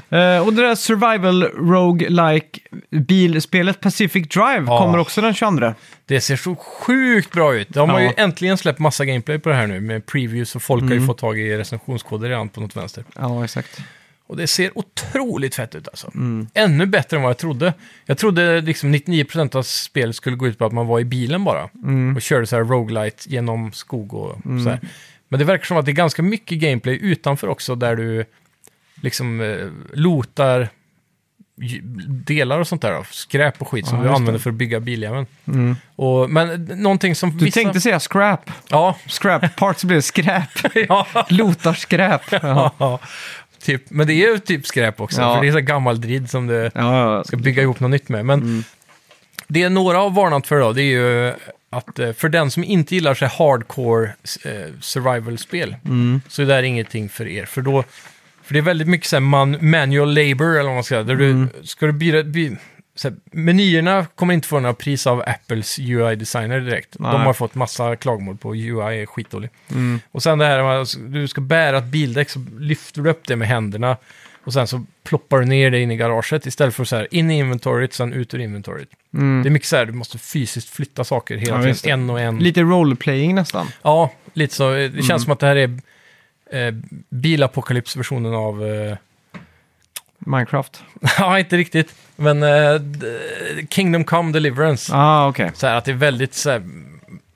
A: Eh, och det där survival rogue-like bilspelet Pacific Drive
B: Ja.
A: kommer också den 22.
B: Det ser så sjukt bra ut. De har
A: Ja.
B: ju äntligen släppt massa gameplay på det här nu med previews och folk har ju fått tag i recensionskoder redan på något vänster.
A: Ja, exakt.
B: Och det ser otroligt fett ut alltså. Ännu bättre än vad jag trodde. Jag trodde liksom 99% av spelet skulle gå ut på att man var i bilen bara. Och körde så här roguelite genom skog och så här. Men det verkar som att det är ganska mycket gameplay utanför också där du liksom eh, lotar j- delar och sånt där. då. Skräp och skit som
A: Ja,
B: du
A: just Mm.
B: använder för att bygga biljäveln. Och, men eh, någonting som
A: Du tänkte säga scrap.
B: Ja, (laughs)
A: (laughs) Scrap parts blev skräp.
B: ja.
A: (laughs) Lotar skräp. Ja,
B: ja. Typ, men det är ju typ skräp också,
A: Ja.
B: för det är så här gammal dridd som det...
A: ja,
B: ska bygga ihop något nytt med. Men det några har varnat för då, det är ju att eh, för den som inte gillar sig hardcore eh, survival-spel
A: Mm.
B: så är det här ingenting för er. För då, för det är väldigt mycket så här man, manual labor eller vad man ska säga. Där du, ska du byra, by, så här, menyerna kommer inte få några pris av Apples UI-designer direkt.
A: Nej.
B: De har fått massa klagomål på UI är skitdålig.
A: Mm.
B: Och sen det här med att du ska bära ett bildäck så lyfter du upp det med händerna. Och sen så ploppar du ner det in i garaget istället för så här in i inventoriet, sen ut ur inventoriet.
A: Mm.
B: Det är mycket så här, du måste fysiskt flytta saker
A: Ja,
B: hela
A: visst.
B: tiden, en och en.
A: Lite Mm. roleplaying nästan.
B: ja, lite så. Det känns som att det här är eh, bilapokalypsversionen av... Eh, (laughs)
A: Minecraft.
B: ja, inte riktigt. Men eh, d- Kingdom Come Deliverance.
A: Ah, okej.
B: Så här att det är väldigt så här,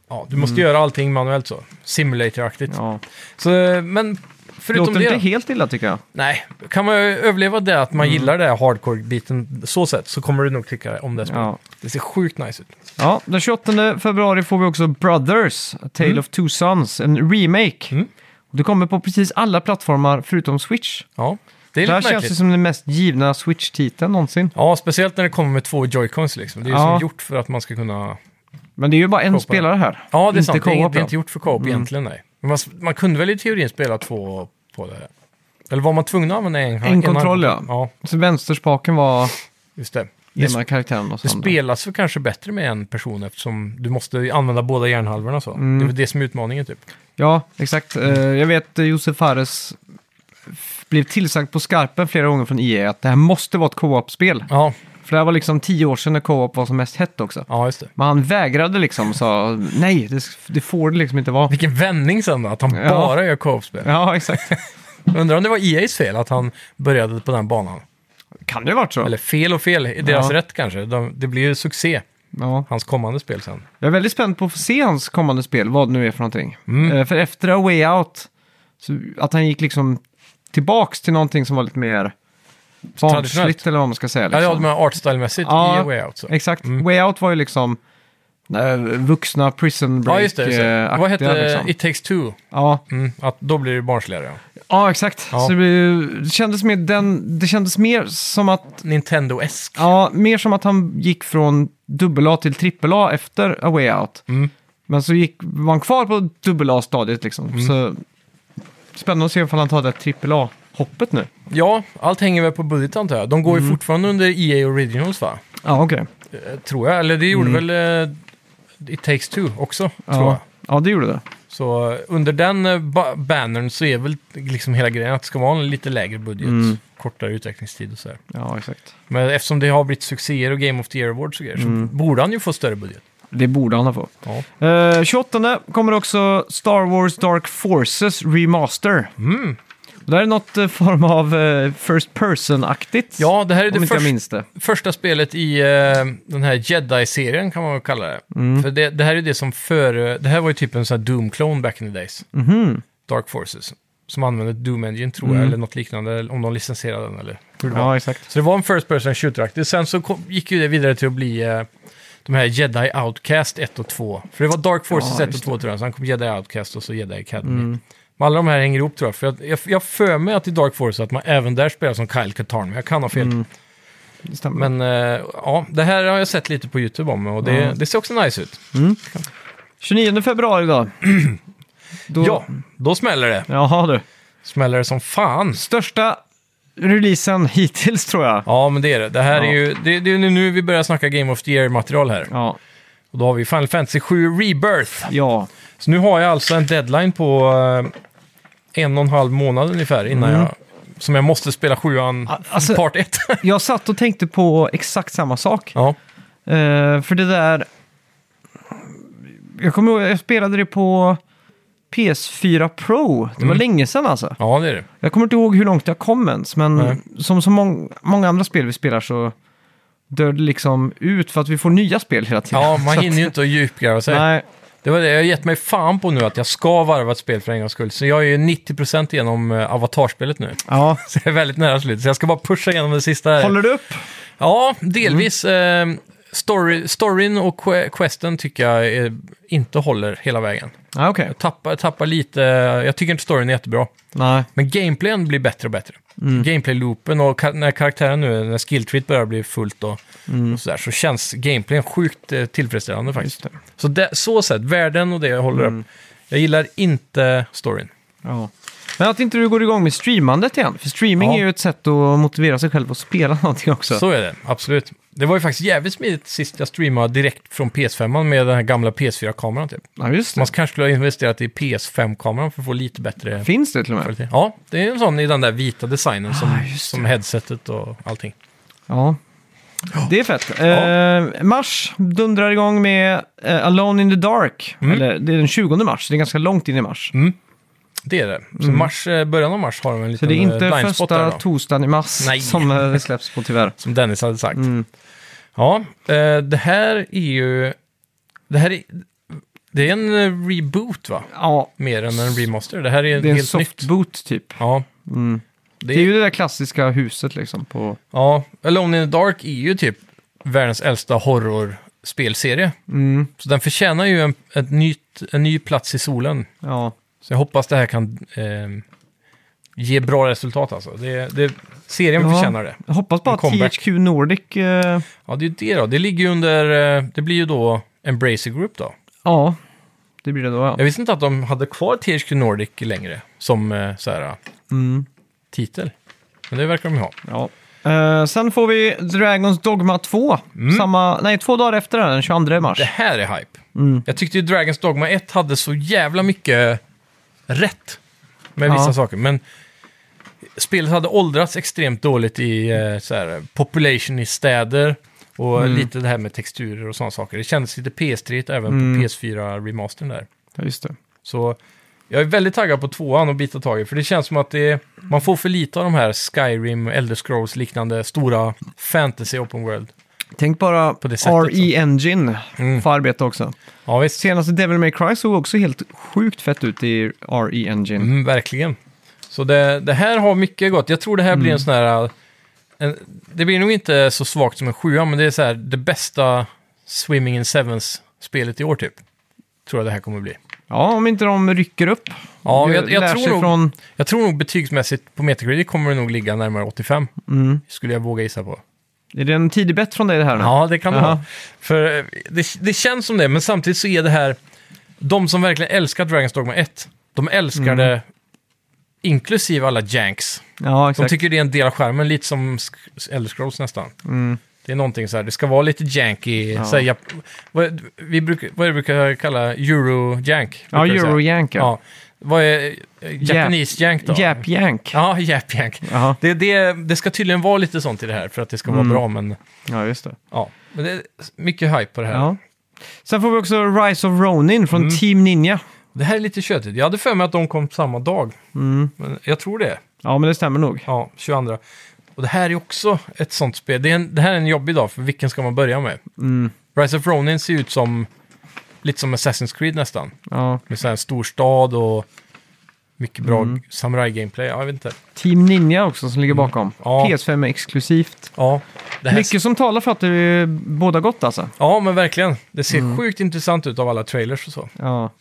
B: ja, du måste göra allting manuellt så. Simulator-aktigt.
A: Mm. Ja.
B: Så, eh, men förutom
A: Låter
B: det...
A: inte
B: då-
A: helt illa tycker jag.
B: Nej, kan man överleva det att
A: Mm.
B: man gillar den här hardcore-biten så sätt så kommer du nog tycka om det spelet.
A: Ja.
B: Det ser sjukt nice ut.
A: Ja, den 28 februari får vi också Brothers, A Tale of Two Sons, en remake.
B: Mm.
A: Och Det kommer på precis alla plattformar förutom Switch.
B: Ja, det är
A: Det här
B: lite
A: känns
B: märkligt.
A: ju som den mest givna Switch-titeln någonsin.
B: Ja, speciellt när det kommer med två joycons liksom. Det är ju
A: Ja.
B: som gjort för att man ska kunna...
A: Men det är ju bara en
B: Koppar.
A: spelare här.
B: Ja, det är
A: inte
B: sant. Det är,
A: co-op, Mm.
B: det är
A: ja.
B: inte gjort för co-op egentligen, nej. Men man, man kunde väl i teorin spela två på det. Eller var man tvungen att använda en?
A: En kontroll, ja.
B: hand? Ja,
A: Så vänsterspaken var
B: just det. Det,
A: ena karaktären och
B: det
A: sen
B: spelas väl kanske bättre med en person eftersom du måste använda båda hjärnhalvorna så.
A: Mm.
B: Det är väl det som är utmaningen typ.
A: Ja, exakt. Eh, jag vet eh, Josef Fares f- blev tillsagd på skarpen flera gånger från IE att det här måste vara ett co-op-spel.
B: Ja,
A: För det här var liksom tio år sedan när co-op var som mest hett också.
B: ja just det.
A: Men han vägrade liksom och sa nej, det, det får det liksom inte
B: (laughs)
A: vara.
B: Vilken vändning sen då, att han
A: Ja.
B: bara gör co-op-spel.
A: Ja, exakt.
B: Undrar om det var EAs fel att han började på den banan.
A: Kan det ha varit så?
B: Eller fel och fel, i deras
A: Ja.
B: rätt kanske. De, det blir ju succé,
A: Ja.
B: hans kommande spel sen.
A: Jag är väldigt spänd på att få se hans kommande spel, vad det nu är för någonting.
B: Mm.
A: Eh, för efter A Way Out, så att han gick liksom tillbaks till någonting som var lite mer barnsligt
B: Traditionellt.
A: eller vad man ska säga.
B: Ja,
A: Liksom.
B: ja, Mm. de här artstyle-mässigt
A: Ja,
B: i A Way Out. Så.
A: Exakt. Way Out var ju liksom eh, vuxna prison break
B: Ja, just det. Just det.
A: eh,
B: Vad hette
A: aktiga, liksom.
B: It takes two?
A: ja.
B: Mm, att då blir det barnsligare. ja.
A: ja, exakt.
B: Ja.
A: Så det, blev- det, kändes mer den, det kändes mer som att
B: Nintendo-esk.
A: Ja, mer som att han gick från AA till AAA efter A Way Out.
B: Mm.
A: Men så gick, var han kvar på AA-stadiet liksom.
B: Mm.
A: Så spännande att se ifall han tar det AAA-hoppet nu.
B: Ja, allt hänger väl på budget antar jag. De går
A: Mm.
B: ju fortfarande under EA E Originals va?
A: Ja, okej.
B: Eh, tror jag. Eller det gjorde väl eh, It takes two också, tror jag.
A: Mm. Ja. ja, det gjorde det.
B: Så eh, under den eh, ba- bannern så är väl liksom hela grejen att det ska vara en lite lägre budget,
A: Mm.
B: kortare utvecklingstid och sådär.
A: Ja, exakt.
B: Men eftersom det har blivit succéer och Game of the Year Awards och grejer
A: Mm.
B: så borde han ju få större budget.
A: Det borde han ha fått.
B: Ja.
A: Eh, 28 kommer också Star Wars Dark Forces Remaster.
B: Mm.
A: Och Det här är något eh, form av eh, First Person-aktigt.
B: ja, det här är
A: om
B: det
A: inte jag
B: första,
A: minns det.
B: första spelet i eh, den här Jedi-serien kan man väl kalla det.
A: Mm.
B: För det, det här är det som före, det här var ju typ en sån här Doom-klon back in the days,
A: Mhm.
B: Dark Forces. Som använde Doom-engine tror jag,
A: Mm.
B: eller något liknande, eller om de licensierade den eller hur det var.
A: Ja, exakt.
B: Så det var en First Person Shooter-aktig. Sen så kom, gick ju det vidare till att bli eh, de här Jedi Outcast 1 och 2. För det var Dark Forces
A: Ja,
B: 1 och
A: just
B: 2 tror jag. Sen kom Jedi Outcast och så Jedi Academy.
A: Mm.
B: Men alla de här hänger ihop tror jag. För jag, jag, jag för mig att i Dark Forces att man även där spelar som Kyle Katarn, men jag kan ha fel.
A: Mm. Det stämmer.
B: Men eh, ja, det här har jag sett lite på YouTube om och det,
A: Ja.
B: det ser också nice ut.
A: 29 februari
B: (clears throat)
A: då. då...
B: Ja, då smäller det.
A: Jaha du.
B: Smäller det som fan.
A: Största releasen hittills tror jag.
B: Ja, men det är det. Det här
A: Ja.
B: är ju det, det är ju nu vi börjar snacka Game of the Year-material här.
A: Ja,
B: Och då har vi Final Fantasy 7 Rebirth.
A: ja.
B: Så nu har jag alltså en deadline på eh, en och en halv månad ungefär innan
A: Mm.
B: jag... Som jag måste spela sjuan,
A: A- alltså-
B: part (laughs) 1.
A: Jag satt och tänkte på exakt samma sak.
B: ja.
A: Eh, för det där... Jag kommer ihåg, jag spelade det på PS4 Pro. Det var
B: Mm.
A: länge sedan alltså.
B: ja, det är det.
A: Jag kommer inte ihåg hur långt jag kom ens, men
B: Nej.
A: som så mång- många andra spel vi spelar så dör det liksom ut för att vi får nya spel hela tiden.
B: Ja, (laughs) man
A: Så att-
B: hinner ju inte att djupgräva sig.
A: Nej,
B: Det var det jag har gett mig fan på nu, att jag ska varva ett spel för en gångs skull. Så jag är ju 90% igenom eh, avatarspelet nu.
A: ja.
B: Så jag är väldigt nära slut. Så jag ska bara pusha igenom det sista här.
A: Håller Mm. du upp?
B: Ja, delvis. Eh, story, storyn och que- questen tycker jag eh, inte håller hela vägen.
A: Ja, okej.
B: Jag tappar, tappar lite... Jag tycker inte storyn är jättebra.
A: Nej.
B: Men gameplayen blir bättre och bättre.
A: Mm.
B: Gameplay-loopen och ka- när karaktären nu, när skilltreet börjar bli fullt och, och sådär, så känns gameplayen sjukt eh, tillfredsställande faktiskt.
A: Mm. Just det. Mm.
B: Så det, så sett, världen och det jag håller upp. Jag gillar inte storyn.
A: Ja. Men att inte du går igång med streamandet igen. För streaming
B: Ja.
A: är ju ett sätt att motivera sig själv att spela (laughs) någonting också.
B: Så. är det, absolut. Det var ju faktiskt jävligt smidigt sist jag streamade direkt från PS5 med den här gamla PS4-kameran typ.
A: Ja, just
B: Man
A: det.
B: kanske skulle ha investerat i PS5-kameran för att få lite bättre
A: Finns det till och med?
B: kvalitet. Ja, det är en sån i den där vita designen som,
A: Ah, just
B: som headsetet och allting.
A: Ja. Det är fett. Eh, mars dundrar igång med eh, Alone in the Dark.
B: Mm.
A: Eller, det är den 20 mars, så det är ganska långt in i mars.
B: Det är det. Så mars, eh, början av mars har de en
A: Mm. Så
B: liten
A: det är
B: eh,
A: inte
B: blindspot
A: första
B: där då.
A: torsdagen i mars
B: Nej.
A: som eh, det släpps på tyvärr.
B: Som Dennis hade sagt.
A: Mm.
B: Ja, eh, det här är ju... Det här är... Det är en eh, reboot va?
A: Ja,
B: Mer än en remaster. Det här är,
A: det är en
B: helt nytt.
A: softboot typ.
B: Ja.
A: Mm.
B: Det
A: Det
B: är,
A: är ju det där klassiska huset liksom på...
B: ja, Alone in the Dark är ju typ världens äldsta horrorspelserie.
A: Mm.
B: Så den förtjänar ju en, ett nytt, en ny plats i solen.
A: Ja.
B: Så jag hoppas det här kan eh, ge bra resultat alltså. Det, det, serien
A: Ja.
B: förtjänar det.
A: Jag hoppas bara
B: En comeback.
A: att THQ Nordic... eh,
B: Ja, det är ju det då. Det ligger ju under... eh, Det blir ju då Embracer Group då.
A: ja, det blir det då ja.
B: Jag visste inte att de hade kvar THQ Nordic längre som eh, så här, eh,
A: Mm.
B: titel. Men det verkar de ju ha.
A: ja. Eh, sen får vi Dragons Dogma 2.
B: Mm.
A: Samma, nej, två dagar efter den, den 22 mars.
B: Det här är hype.
A: Mm.
B: Jag tyckte ju Dragons Dogma 1 hade så jävla mycket rätt med
A: Ja.
B: vissa saker. Men spelet hade åldrats extremt dåligt i eh, så här, population i städer och lite det här med texturer och sådana saker. Det kändes lite PS3 även
A: Mm.
B: på PS4-remastern där.
A: Ja, just det.
B: Så jag är väldigt taggad på tvåan och bita tag i, för det känns som att det, man får för lite av de här Skyrim, Elder Scrolls liknande stora fantasy open world.
A: Tänk bara
B: På det sättet,
A: RE Engine
B: Mm.
A: får arbeta också.
B: Ja, visst.
A: Senaste Devil May Cry såg också helt sjukt fett ut i RE Engine.
B: Mm, verkligen. Så det, det här har mycket gott. Jag tror det här blir
A: Mm.
B: en sån här... eh, En, det blir nog inte så svagt som en sjua, men det är så här det bästa Swimming in Sevens-spelet i år typ. Tror jag det här kommer bli.
A: Ja, om inte de rycker upp.
B: Ja,
A: Gör-
B: jag, jag,
A: lär sig
B: tror nog,
A: från...
B: jag tror nog betygsmässigt på Metacritic kommer det nog ligga närmare 85.
A: Mm.
B: Skulle jag våga gissa på.
A: Är det en tidig bett från dig det här nu?
B: Ja, det kan det
A: Jaha.
B: vara. För eh, det, det känns som det, men samtidigt så är det här... De som verkligen älskar Dragon's Dogma 1, de älskar
A: Mm.
B: det inklusive alla janks.
A: Ja,
B: De
A: exakt.
B: tycker det är en del av skärmen, lite som Sk- Elder Scrolls nästan.
A: Mm.
B: Det är någonting så här, det ska vara lite janky. Så här, jap- vad, vi brukar, vad är det vi brukar kalla euro-jank?
A: Ja,
B: brukar vi säga.
A: Eurojank. Ja.
B: Ja. Vad är eh, Japanese jank då?
A: Jap-jank.
B: Ja, (laughs) Jap-jank.
A: Jaha.
B: Det, det, det ska tydligen vara lite sånt i det här för att det ska vara
A: Mm.
B: bra, men
A: Ja, just det.
B: ja. Men det är mycket hype på det här. Mm.
A: Ja. Sen får vi också Rise of Ronin från Team Ninja.
B: Det här är lite tjötigt. Jag hade för mig att de kom samma dag. Men jag tror det.
A: Mm. Ja, men det stämmer nog.
B: Ja, 22. Och det här är också ett sånt spel. Det, är en, det här är en jobbig dag, för vilken ska man börja med?
A: Mm.
B: Rise of Ronin ser ut som lite som Assassin's Creed nästan.
A: Ja.
B: Med så här en stor stad och mycket bra
A: Mm.
B: samurai-gameplay. Ja, jag vet inte.
A: Team Ninja också som ligger bakom.
B: Mm. Ja.
A: PS5 exklusivt.
B: Ja, det här
A: Mycket som talar för att det är båda gott alltså.
B: ja men verkligen. Det ser
A: Mm.
B: sjukt intressant ut av alla trailers och så.
A: Ja.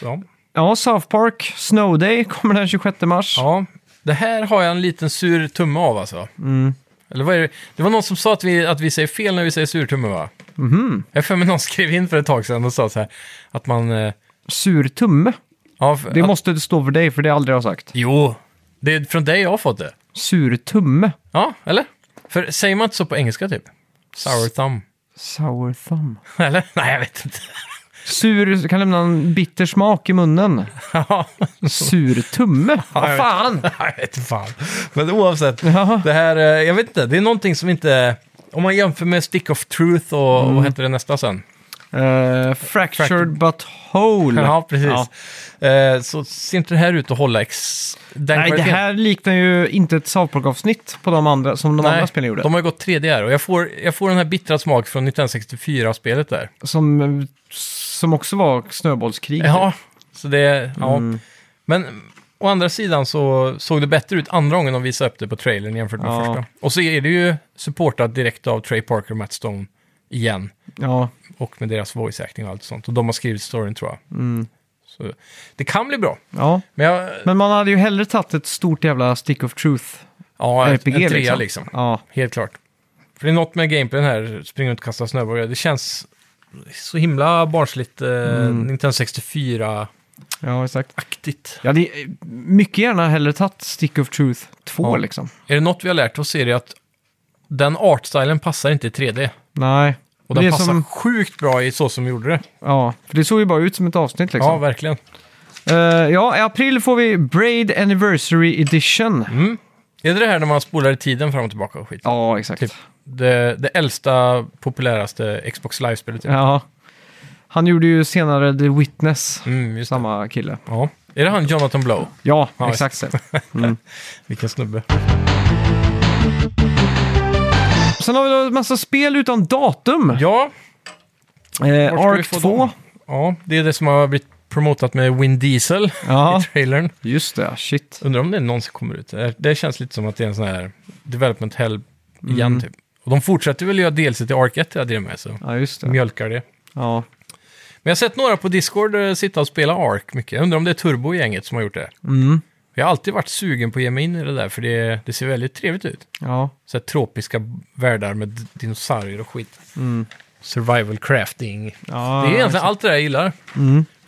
B: så.
A: ja, South Park Snow Day kommer den 26 mars.
B: Ja, det här har jag en liten sur tumme av alltså.
A: Mm.
B: Eller vad är det? det var någon som sa att vi, att vi säger fel när vi säger sur tumme va?
A: Mhm.
B: Mm. Jag har för mig någon skrev in för ett tag sedan och sa så här att man... eh,
A: Sur tumme.
B: Ja, för,
A: Det
B: att,
A: måste stå för dig, för det har jag aldrig har sagt.
B: Jo, det är från dig jag har fått det.
A: Sur tumme.
B: Ja, eller? För säger man inte så på engelska typ? Sour thumb. (laughs)
A: Sour thumb.
B: Eller? Nej, jag vet inte. (laughs)
A: Sur kan lämna en bitter smak i munnen.
B: Ja,
A: Sur
B: (laughs)
A: tumme.
B: jag
A: Vad
B: vet.
A: fan!
B: jag vet inte fan. Men oavsett,
A: Ja.
B: det här, eh, jag vet inte, det är någonting som inte... Om man jämför med Stick of Truth och
A: Mm.
B: vad heter det nästa sen?
A: Eh, fractured but whole.
B: Ja, precis.
A: Ja.
B: Eh, så ser inte det här ut att hålla ex... Den
A: Nej, det
B: kvaliteten.
A: här liknar ju inte ett South Park-avsnitt på de andra, som de
B: Nej,
A: andra spelen gjorde.
B: De har ju gått 3D här och jag får, jag får den här bittra smak från 1964-spelet där.
A: Som, eh, som också var snöbollskrig.
B: Ja, så det... Ja. Men mm, å andra sidan så såg det bättre ut andra gången de visade upp det på trailern jämfört med
A: Ja.
B: första. Och så är det ju supportat direkt av Trey Parker och Matt Stone igen.
A: Ja,
B: Och med deras voice acting och allt sånt. Och de har skrivit storyn tror jag.
A: Mm.
B: Så det kan bli bra.
A: ja.
B: Men jag...
A: Men man hade ju hellre tagit ett stort jävla stick of truth.
B: Ja,
A: RPG
B: en trea
A: liksom.
B: liksom.
A: Ja.
B: Helt klart. För det är något med gameplayen här, springa runt och kasta snöbollar. Det känns så himla barnsligt eh, Nintendo 64-aktigt.
A: ja, exakt. Jag hade eh, mycket gärna hellre tagit stick of truth 2
B: Ja.
A: liksom.
B: Är det något vi har lärt oss är det att den artstylen passar inte i 3D.
A: Nej.
B: Och den
A: det är
B: passar
A: som,
B: sjukt bra i så som vi gjorde det.
A: ja, för det såg ju bara ut som ett avsnitt liksom.
B: Ja, verkligen.
A: Eh, ja, i april får vi Braid Anniversary Edition.
B: Är det det här när man spolar i tiden fram och tillbaka och skit?
A: Ja, exakt.
B: Typ. Det, det äldsta, populäraste Xbox Live-spelet. Typ.
A: Ja. Han gjorde ju senare The Witness,
B: Mm, just det.
A: samma kille.
B: Ja. Är det han Jonathan Blow?
A: Ja,
B: Ja,
A: exakt så.
B: Vilken snubbe.
A: Sen har vi då en massa spel utan datum.
B: Ja,
A: eh,
B: Vart ska vi
A: Ark
B: få
A: 2.
B: dem? Ja, det är det som har blivit promotat med Win Diesel
A: Ja,
B: i trailern.
A: just det. Shit.
B: Undrar om det någonsin kommer ut. Det- Det känns lite som att det är en sån här development hell
A: Mm.
B: igen typ. Och de fortsätter väl göra DLC till Ark 1 jag drev med, så
A: Ja, just det.
B: mjölkar det.
A: Ja.
B: Men jag har sett några på Discord eh, sitta och spela Ark mycket. Jag undrar om det är Turbo-gänget som har gjort det.
A: Mm.
B: Jag har alltid varit sugen på att ge mig in i det där, för det, det ser väldigt trevligt ut.
A: Ja.
B: Så här tropiska världar med d- dinosaurier och skit. Survival crafting.
A: Mm. ja. Mm.
B: det är egentligen allt det där jag gillar.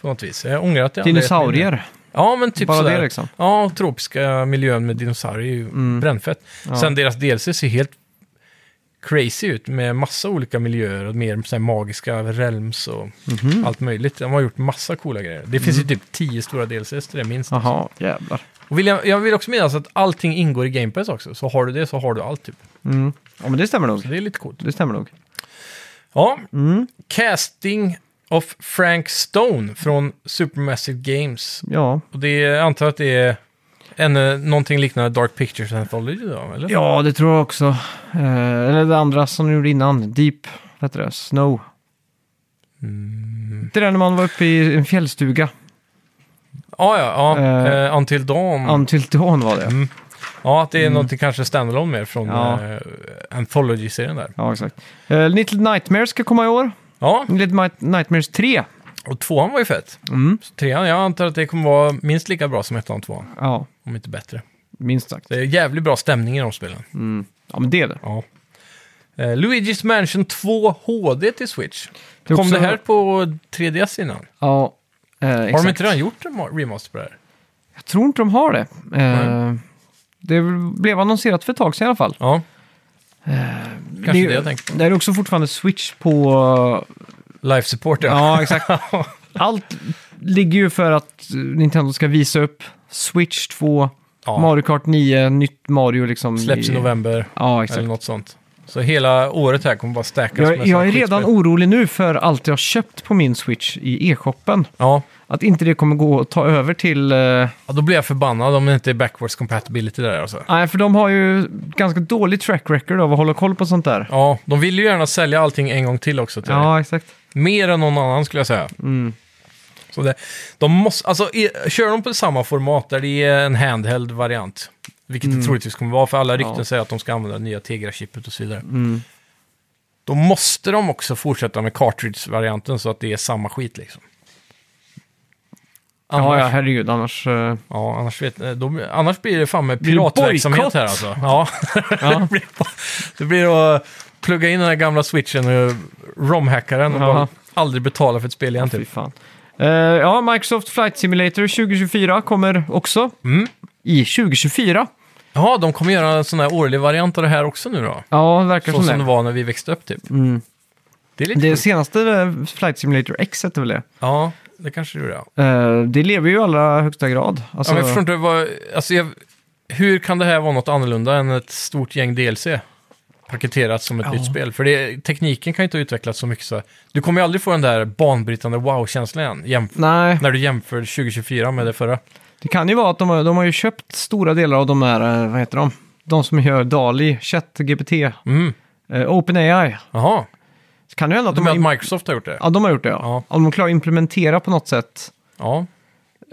B: På något vis. Jag ångrar att jag aldrig gett mig in i det.
A: Dinosaurier.
B: Ja, men typ
A: Bara
B: sådär.
A: det liksom. Mm.
B: Ja, tropiska miljön med dinosaurier är ju brännfett. Sen deras DLC ser helt crazy ut med massa olika miljöer och mer så här magiska realms och
A: Mhm.
B: allt möjligt. De har gjort massa coola grejer. Det finns ju typ tio stora DLCs till det minst.
A: Mm. Jaha, jävlar.
B: Och vill jag, jag vill också minnas att allting ingår i Game Pass också. Så har du det så har du allt typ.
A: Mm. Ja, men det stämmer nog.
B: Så det är lite coolt.
A: Det stämmer nog.
B: Ja,
A: Mm.
B: Casting of Frank Stone från Supermassive Games.
A: Ja.
B: Och det är, jag antar att det är en, eh, någonting liknande Dark Pictures Anthology då, eller?
A: ja, det tror jag också. Eh, eller det andra som de gjorde innan. Deep, vad heter det? Snow.
B: Mm.
A: Det där när man var uppe i en fjällstuga.
B: Ah, Ja, ja, ja.
A: Eh,
B: Eh, Until Dawn.
A: Until Dawn var det.
B: ja, att det är någonting kanske standalone mer från
A: mm. Ja.
B: eh, Anthology-serien där.
A: Ja, exakt. Eh, Little Nightmares ska komma i år.
B: Ja,
A: Little Might- Nightmares 3.
B: och tvåan var ju fett.
A: Mm.
B: Så trean, jag antar att det kommer vara minst lika bra som ettan och tvåan,
A: Ja,
B: om inte bättre.
A: minst sagt.
B: Det är jävligt bra stämning i de spelen.
A: Ja, men det är det.
B: Ja. Eh, Luigi's Mansion 2 HD till Switch.
A: Det är
B: Kom
A: också-
B: det här på 3DS innan?
A: Ja, eh,
B: Har
A: exakt.
B: de inte redan gjort en ma- remaster på det här?
A: Jag tror inte de har det. Eh, det blev annonserat för ett tag sedan i alla fall.
B: Ja. Kanske
A: är-
B: det jag tänkte
A: Det är också fortfarande switch på...
B: Life support, ja. (laughs)
A: Ja, exakt. Allt ligger ju för att Nintendo ska visa upp Switch 2,
B: Ja.
A: Mario Kart 9, nytt Mario liksom.
B: Släpps i november
A: Ja, exakt.
B: eller något sånt. Så hela året här kommer bara stackas
A: Jag,
B: såna
A: jag är
B: skitspel.
A: redan orolig nu för allt jag har köpt på min Switch i e-shoppen.
B: Ja,
A: Att inte det kommer gå att ta över till... eh,
B: Ja, då blir jag förbannad om det inte är backwards compatibility där alltså.
A: Nej, för de har ju ganska dålig track record av att hålla koll på sånt där.
B: Ja, de vill ju gärna sälja allting en gång till också. Till dig.
A: Ja, exakt.
B: Mer än någon annan skulle jag säga.
A: Mm.
B: Så det, de måste, alltså, i- kör de på samma format där det är en handheld variant, vilket det troligtvis kommer vara, för alla rykten
A: Mm. Ja. Mm.
B: säger att de ska använda det nya Tegra-chippet och så vidare. Då måste de också fortsätta med cartridge-varianten så att det är samma skit liksom.
A: Ja,
B: Annars,
A: ja,
B: ja,
A: herregud, annars... eh,
B: annars, vet, då, annars blir det fan med
A: det
B: piratverksamhet
A: bojkott?
B: här alltså. Ja.
A: (laughs)
B: (laughs)
A: Ja.
B: Det blir bara- det blir att plugga in den här gamla switchen och romhackaren och
A: Jaha.
B: bara aldrig betala för ett spel igen
A: Fy
B: typ.
A: fan. Eh, ja, Microsoft Flight Simulator 2024 kommer också.
B: Mm.
A: I 2024.
B: Ja, de kommer göra en sån här årlig variant av det här också nu då.
A: Ja, det verkar
B: Så
A: som,
B: som det
A: det.
B: var när vi växte upp typ.
A: Mm.
B: Det är lite
A: Det
B: sjukt.
A: senaste eh, Flight Simulator X hette väl det?
B: Ja, det kanske det gjorde ja.
A: Eh, det lever ju i allra högsta grad. Alltså,
B: ja men jag förstår inte vad... Alltså, jag, hur kan det här vara något annorlunda än ett stort gäng DLC? Paketerat som ett
A: Ja.
B: nytt spel. För det, tekniken kan ju inte ha utvecklats så mycket så... Du kommer ju aldrig få den där banbrytande wow-känslan igen. jämf-
A: Nej,
B: När du jämför 2024 med det förra.
A: det kan ju vara att de har, de har ju köpt stora delar av de här, eh, vad heter de? De som gör DALI, ChatGPT,
B: Mm,
A: eh, OpenAI.
B: jaha.
A: Så kan det ju hända att
B: Du
A: de har,
B: menar
A: im-
B: att Microsoft har gjort det?
A: ja, de har gjort det. Ja. Om de klarar att implementera på något sätt.
B: Ja,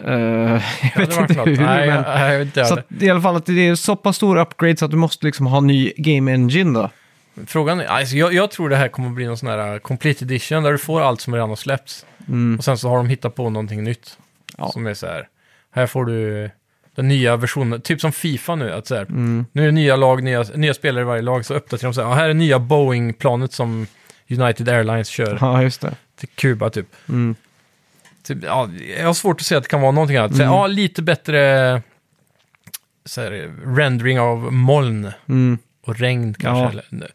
A: eh, (laughs) jag
B: det
A: vet
B: hade varit
A: inte
B: något.
A: hur,
B: Nej,
A: men...
B: jag, jag vet inte.
A: Så att, i alla fall att det är så pass stor upgrade så att du måste liksom ha ny game engine då.
B: Frågan är, alltså, jag, jag tror det här kommer bli någon sån här uh, complete edition där du får allt som redan har släppts.
A: Mm.
B: Och sen så har de hittat på någonting nytt.
A: Ja.
B: Som är så här, här får du den nya versionen, typ som Fifa nu, att så här,
A: Mm.
B: nu är det nya lag, nya, nya spelare i varje lag, så uppdaterar de så här, "Ja, här är nya Boeing-planet som United Airlines kör
A: Ja, just det.
B: till Kuba typ.
A: Mm.
B: typ ja, jag har svårt att se att det kan vara någonting annat. Så,
A: Mm.
B: här, ja, lite bättre så här, rendering av moln
A: Mm.
B: och regn kanske.
A: Ja.
B: Eller,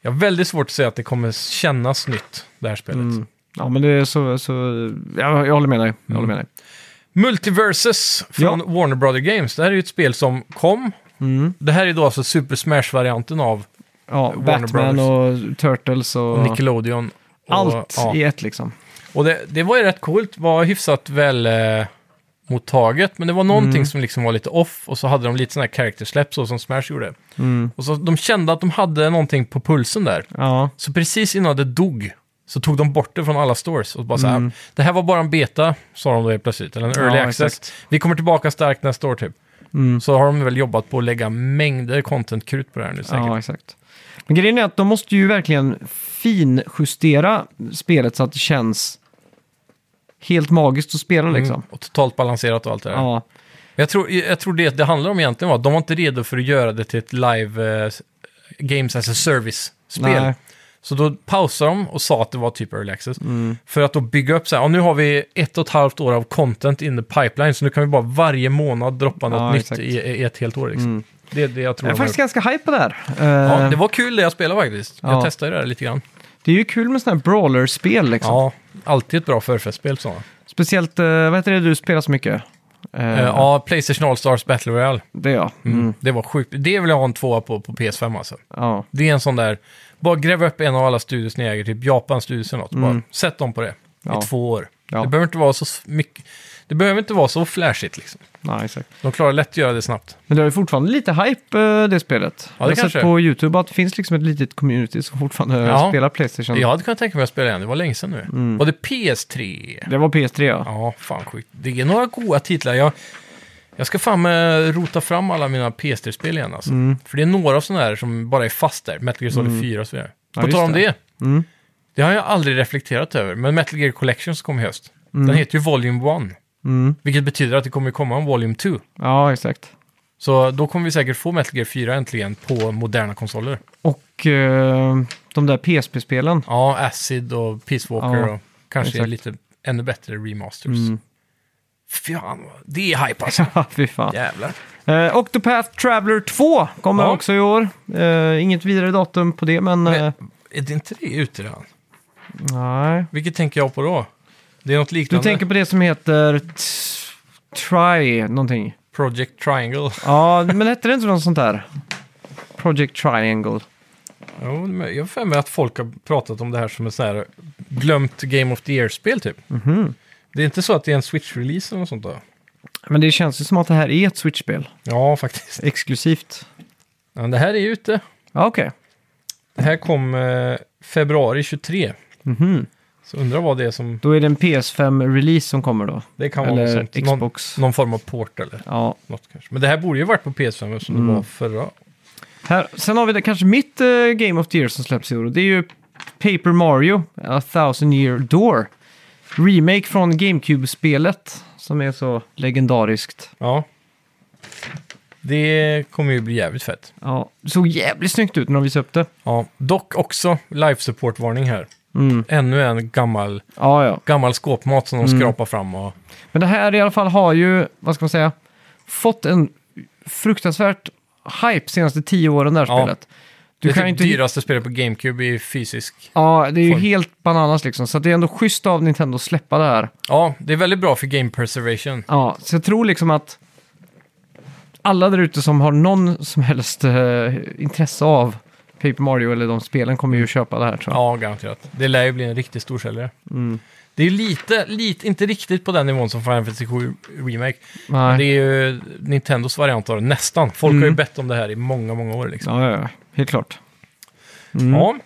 B: jag har väldigt svårt att säga att det kommer kännas nytt, det här spelet.
A: Mm. Ja, men det är så... så ja, jag håller med dig. Jag håller med dig.
B: Multiverses från Warner Brother Games. Det här är ju ett spel som kom.
A: Mm.
B: Det här är då alltså Super Smash-varianten av
A: Ja,
B: Warner
A: Batman och Turtles och,
B: Nickelodeon. Och,
A: allt
B: ja.
A: i ett liksom.
B: och det, det var ju rätt coolt, var hyfsat väl eh, mottaget, men det var någonting
A: Mm.
B: som liksom var lite off och så hade de lite sådana här character-släpp så som Smash gjorde.
A: Mm.
B: Och så de kände att de hade någonting på pulsen där.
A: Ja,
B: Så precis innan det dog så tog de bort det från alla stores och bara så här,
A: Mm.
B: det här var bara en beta, sa de då helt plötsligt, eller en early
A: Ja,
B: access.
A: exakt.
B: Vi kommer tillbaka starkt nästa år typ.
A: Mm.
B: Så har de väl jobbat på att lägga mängder content-krut på det här nu säkert.
A: ja, exakt. Men grejen är att de måste ju verkligen finjustera spelet så att det känns helt magiskt att spela liksom.
B: Mm, och totalt balanserat och allt det där.
A: Ja,
B: Jag tror, jag tror det det handlar om egentligen var att de var inte redo för att göra det till ett live eh, games as a service-spel.
A: nej.
B: Så då pausade de och sa att det var typ early access. För att då bygga upp så här, ja, nu har vi ett och ett halvt år av content in the pipeline, så nu kan vi bara varje månad droppa något
A: Ja,
B: nytt
A: exakt. Mm.
B: i, i ett helt år. Liksom. Det är det jag tror.
A: Jag är
B: de har
A: faktiskt
B: gjort.
A: ganska hype på det här.
B: ja,
A: Eh,
B: det var kul det jag spelade faktiskt. Jag
A: Ja.
B: testade det där lite grann.
A: Det är ju kul med sådana här brawler-spel liksom.
B: Ja, alltid ett bra förfestspel sådana.
A: Speciellt, eh, vad heter det du spelar så mycket? Eh,
B: Eh, Ja, Playstation All-Stars Battle Royale.
A: Det ja.
B: Mm.
A: Mm.
B: Det var sjukt. Det vill jag ha en tvåa på, på PS5 alltså.
A: ja.
B: Det är en sån där, bara gräva upp en av alla studios ni äger, typ Japans studios eller något. Bara sätt dem på det
A: Mm. Ja.
B: i två år.
A: Ja.
B: Det behöver inte vara så s- mycket, det behöver inte vara så flashigt liksom.
A: Nej, exakt.
B: De klarar lätt att göra det snabbt.
A: Men det har ju fortfarande lite hype eh, det spelet. jag har
B: kanske.
A: sett på YouTube att det finns liksom ett litet community som fortfarande
B: Ja.
A: spelar Playstation.
B: Jag hade kunnat tänka mig att spela igen, det var länge sedan nu.
A: Mm.
B: Var det PS3?
A: Det var PS3 ja.
B: Ja, fan sjukt. Det är några goda titlar. Jag, jag ska fan eh, rota fram alla mina PS3-spel igen alltså.
A: Mm.
B: För det är några sådana här som bara är fast där. Metal Gear Solid 4 och så vidare.
A: Ja,
B: På
A: just
B: tal om det.
A: det.
B: Det.
A: Mm.
B: har jag aldrig reflekterat över. Men Metal Gear Collection som kom i höst. Den heter ju Volume 1.
A: Mm.
B: Vilket betyder att det kommer komma en Volume 2.
A: Ja, exakt.
B: Så då kommer vi säkert få Metal Gear 4 äntligen på moderna konsoler.
A: Och eh, de där (laughs) PSP-spelen.
B: Ja, Acid och Peace Walker
A: Ja,
B: och kanske
A: exakt.
B: lite ännu bättre remasters.
A: Mm.
B: Fan, vad- det är hype alltså.
A: Fy fan.
B: Jävlar.
A: Eh, Octopath Traveler 2 kommer
B: Ja.
A: också i år. Eh, inget vidare datum på det, men...
B: Men-
A: eh,
B: Är det inte det ute redan?
A: nej.
B: Vilket tänker jag på då? Det är något
A: Du
B: liknande.
A: tänker på det som heter... T- Try någonting.
B: Project Triangle.
A: Ja, men hette det inte något sånt där? Project Triangle.
B: Jo, men jag har för mig att folk har pratat om det här som ett sånt här glömt Game of the Year-spel typ. Det är inte så att det är en Switch-release eller något sånt då?
A: Men det känns ju som att det här är ett Switch-spel.
B: Ja, faktiskt.
A: Exklusivt.
B: Ja, men det här är ju ute.
A: Ja, okej.
B: Det här kom eh, februari 23.
A: Mhm.
B: Så undrar vad det är som...
A: Då är det en PS5-release som kommer då.
B: Det kan vara
A: Eller
B: något sånt. Någon,
A: Xbox.
B: någon form av port eller
A: Ja.
B: något kanske. Men det här borde ju varit på PS5 som det
A: Mm.
B: var förra.
A: Här, sen har vi det, kanske mitt eh, Game of the Year som släpps i år. och Det är ju Paper Mario, A Thousand Year Door. Remake från GameCube-spelet som är så legendariskt.
B: Ja. Det kommer ju bli jävligt fett.
A: Ja, det såg jävligt snyggt ut när de visade upp det.
B: Ja, dock också life support-varning här.
A: Mm.
B: Ännu en gammal,
A: Ja, ja.
B: gammal skåpmat som de
A: Mm.
B: skrapar fram och...
A: Men det här i alla fall har ju, vad ska man säga, fått en fruktansvärt hype senaste tio åren det här
B: Ja.
A: spelet.
B: Du det
A: kan
B: är
A: ju
B: typ dyraste spelet på GameCube i fysisk.
A: Ja, det är ju
B: form.
A: helt bananas liksom. Så att det är ändå schysst av Nintendo att släppa det här.
B: Ja, det är väldigt bra för game preservation.
A: Ja, så jag tror liksom att alla där ute som har någon som helst eh, intresse av Paper Mario eller de spelen kommer ju köpa det här tror jag.
B: Ja, garanterat. Det lär ju bli en riktig storsäljare.
A: Mm.
B: Det är ju lite, lite, inte riktigt på den nivån som Final Fantasy 7 Remake. Men det
A: Nej.
B: är ju Nintendos variant av det, nästan. Folk har ju
A: Mm.
B: bett om det här i många, många år liksom.
A: Ja, ja, ja, helt klart. Mm.
B: Ja.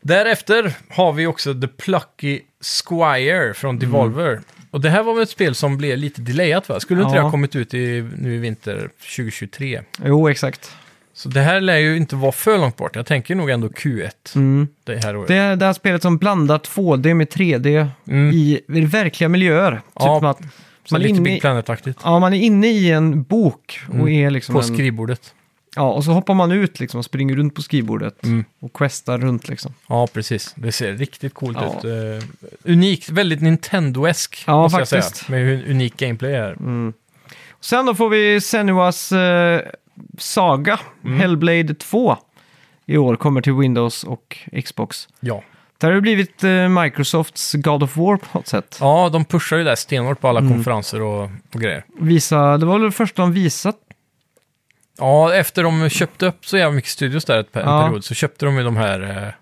B: Därefter har vi också The Plucky Squire
A: Mm.
B: från Devolver. Och det här var väl ett spel som blev lite delayat va? Skulle inte
A: Ja.
B: det ha kommit ut i, nu i vinter 2023?
A: Jo, exakt.
B: Så det här lär ju inte vara för långt bort. Jag tänker nog ändå Q1
A: Mm.
B: det här året.
A: Det, är det här spelet som blandar 2D med 3D
B: Mm.
A: i, i verkliga miljöer. Typ
B: Ja,
A: som att
B: Så
A: man är,
B: lite
A: inne,
B: Big
A: i-
B: Planet-aktigt.
A: ja, man är inne i en bok och
B: Mm.
A: är liksom
B: På
A: en,
B: skrivbordet.
A: ja, och så hoppar man ut liksom och springer runt på skrivbordet
B: Mm.
A: och questar runt liksom.
B: Ja, precis. Det ser riktigt coolt
A: Ja.
B: ut. Eh, unikt, väldigt Nintendo-esk.
A: Ja,
B: måste jag
A: faktiskt.
B: Säga, med hur unik gameplay är.
A: Mm. Sen då får vi Senuas eh, Saga,
B: Mm.
A: Hellblade 2, i år kommer till Windows och Xbox.
B: Ja.
A: Där har det blivit eh, Microsofts God of War på något sätt.
B: ja, de pushar ju där stenhårt på alla
A: Mm.
B: konferenser och, och grejer.
A: Visa, det var väl det första de visat?
B: Ja, efter de köpte upp så jävla mycket studios där ett, per- en
A: Ja.
B: period så köpte de ju de här, eh,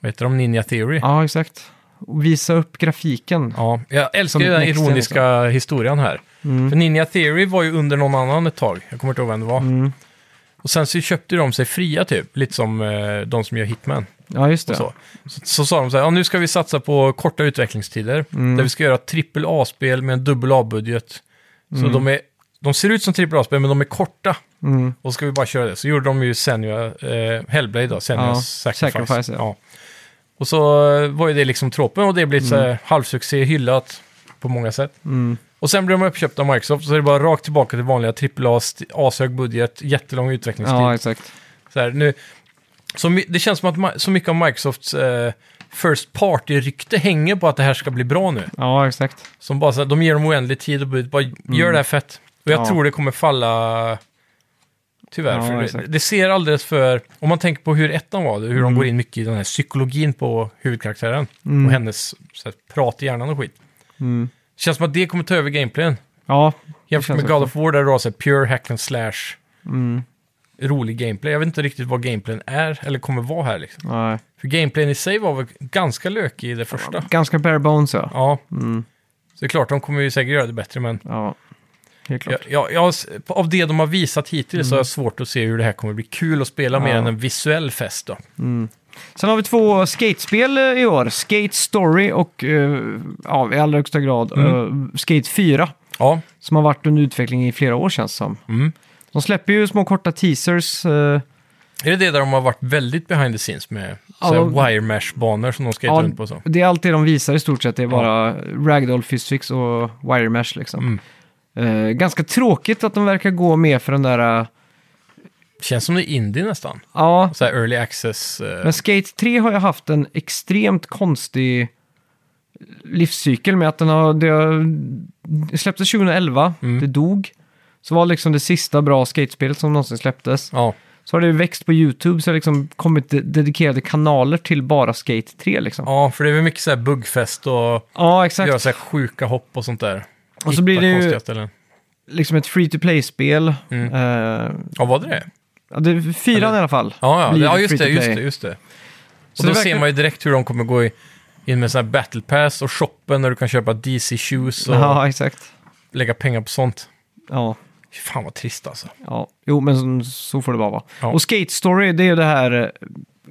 B: vad heter de, Ninja Theory. Ja,
A: Ja, exakt. Och visa upp grafiken.
B: jag älskar
A: Som Mm.
B: ju den
A: Next Gen,
B: ironiska historien här. För Ninja Theory var ju under någon annan ett tag, jag kommer inte ihåg vem det var.
A: Mm.
B: Och sen så köpte de sig fria typ, lite som eh, de som gör Hitman.
A: Ja, just det.
B: Så. Så, så sa de så här, ja, nu ska vi satsa på korta utvecklingstider,
A: Mm.
B: där vi ska göra trippel A-spel med en dubbel A-budget. Så de, är, de ser ut som trippel A-spel, men de är korta.
A: Mm.
B: Och så ska vi bara köra det. Så gjorde de ju Senua, eh, Hellblade då, Senua's
A: Ja,
B: Sacrifice.
A: Sacrifice, ja.
B: Och så eh, var ju det liksom tropen och det blev mm. så här halvsuccé, hyllat på många sätt.
A: Mm.
B: Och sen blev de uppköpta av Microsoft, så det är bara rakt tillbaka till vanliga trippel A, ashög budget, jättelång utvecklingstid.
A: Ja, exakt.
B: Så här, nu, så, my- det känns som att ma- så mycket av Microsofts eh, First Party-rykte hänger på att det här ska bli bra nu.
A: Ja, exakt.
B: Som bara, så här, de ger dem oändlig tid och budget, bara gör det här fett. Och jag
A: Mm. Ja.
B: tror det kommer falla, tyvärr.
A: Ja,
B: för det,
A: exakt. Mm.
B: det ser alldeles för, om man tänker på hur ettan var, hur de går in mycket i den här psykologin på huvudkaraktären och hennes så här, prat i hjärnan och skit.
A: Mm.
B: Känns som att det kommer ta över gameplayen.
A: Ja,
B: Jämfört
A: känns
B: med God
A: också.
B: of War där du har så här, pure hack and slash,
A: mm.
B: rolig gameplay. Jag vet inte riktigt vad gameplayen är, eller kommer vara här liksom.
A: Nej.
B: För gameplayen i sig var väl ganska lökig i det första.
A: Ganska bare bones, ja.
B: Ja,
A: Mm.
B: så det är klart, de kommer ju säkert göra det bättre, men
A: Ja, helt klart. Mm.
B: jag, jag, jag, har s- på- av det de har visat hittills så har jag svårt att se hur det här kommer bli kul att spela mer
A: Ja.
B: än en visuell fest då.
A: Sen har vi två skatespel eh, i år. Skate Story och eh, ja, i allra högsta grad eh, Skate 4.
B: Ja,
A: Som har varit under utveckling i flera år känns det som.
B: Mm.
A: De släpper ju små korta teasers. eh,
B: är det det där de har varit väldigt behind the scenes med
A: Ja,
B: så här
A: de-
B: wire mesh-banor som de ska ja, runt på och så?
A: det är allt det de visar i stort sett. Det är bara ragdoll physics och wire mesh liksom. Eh, ganska tråkigt att de verkar gå med för den där... eh,
B: Känns som det är indie nästan.
A: ja,
B: Så här early access. eh,
A: Men Skate 3 har ju haft en extremt konstig
B: Mm.
A: livscykel med att den har, det har, det släpptes 2011, det dog. Så var liksom det sista bra skatespelet som någonsin släpptes.
B: Ja.
A: Så har det ju växt på YouTube, så har det liksom kommit de- dedikerade kanaler till bara Skate 3 liksom. Ja,
B: ja, för det är väl mycket så här buggfest och
A: exakt.
B: göra så här sjuka hopp och sånt där.
A: Och så blir
B: Hitta
A: det ju-
B: konstiga ställen.
A: Liksom ett free to play-spel.
B: Mm.
A: Eh,
B: Ja, var det det?
A: ja, det är fyran
B: Eller-
A: i alla fall.
B: Ja, ja.
A: Blir
B: ja
A: det
B: just,
A: free
B: det,
A: to
B: just
A: play.
B: det, just det. Och
A: Så
B: då
A: det verkar-
B: ser man ju direkt hur de kommer gå i- in med sån här battle pass och shoppen där du kan köpa DC shoes och
A: Ja, exakt.
B: lägga pengar på sånt.
A: Ja,
B: Fy Fan vad trist alltså.
A: ja. Jo, men så, så får det bara vara.
B: Ja.
A: Och Skate Story, det är ju det här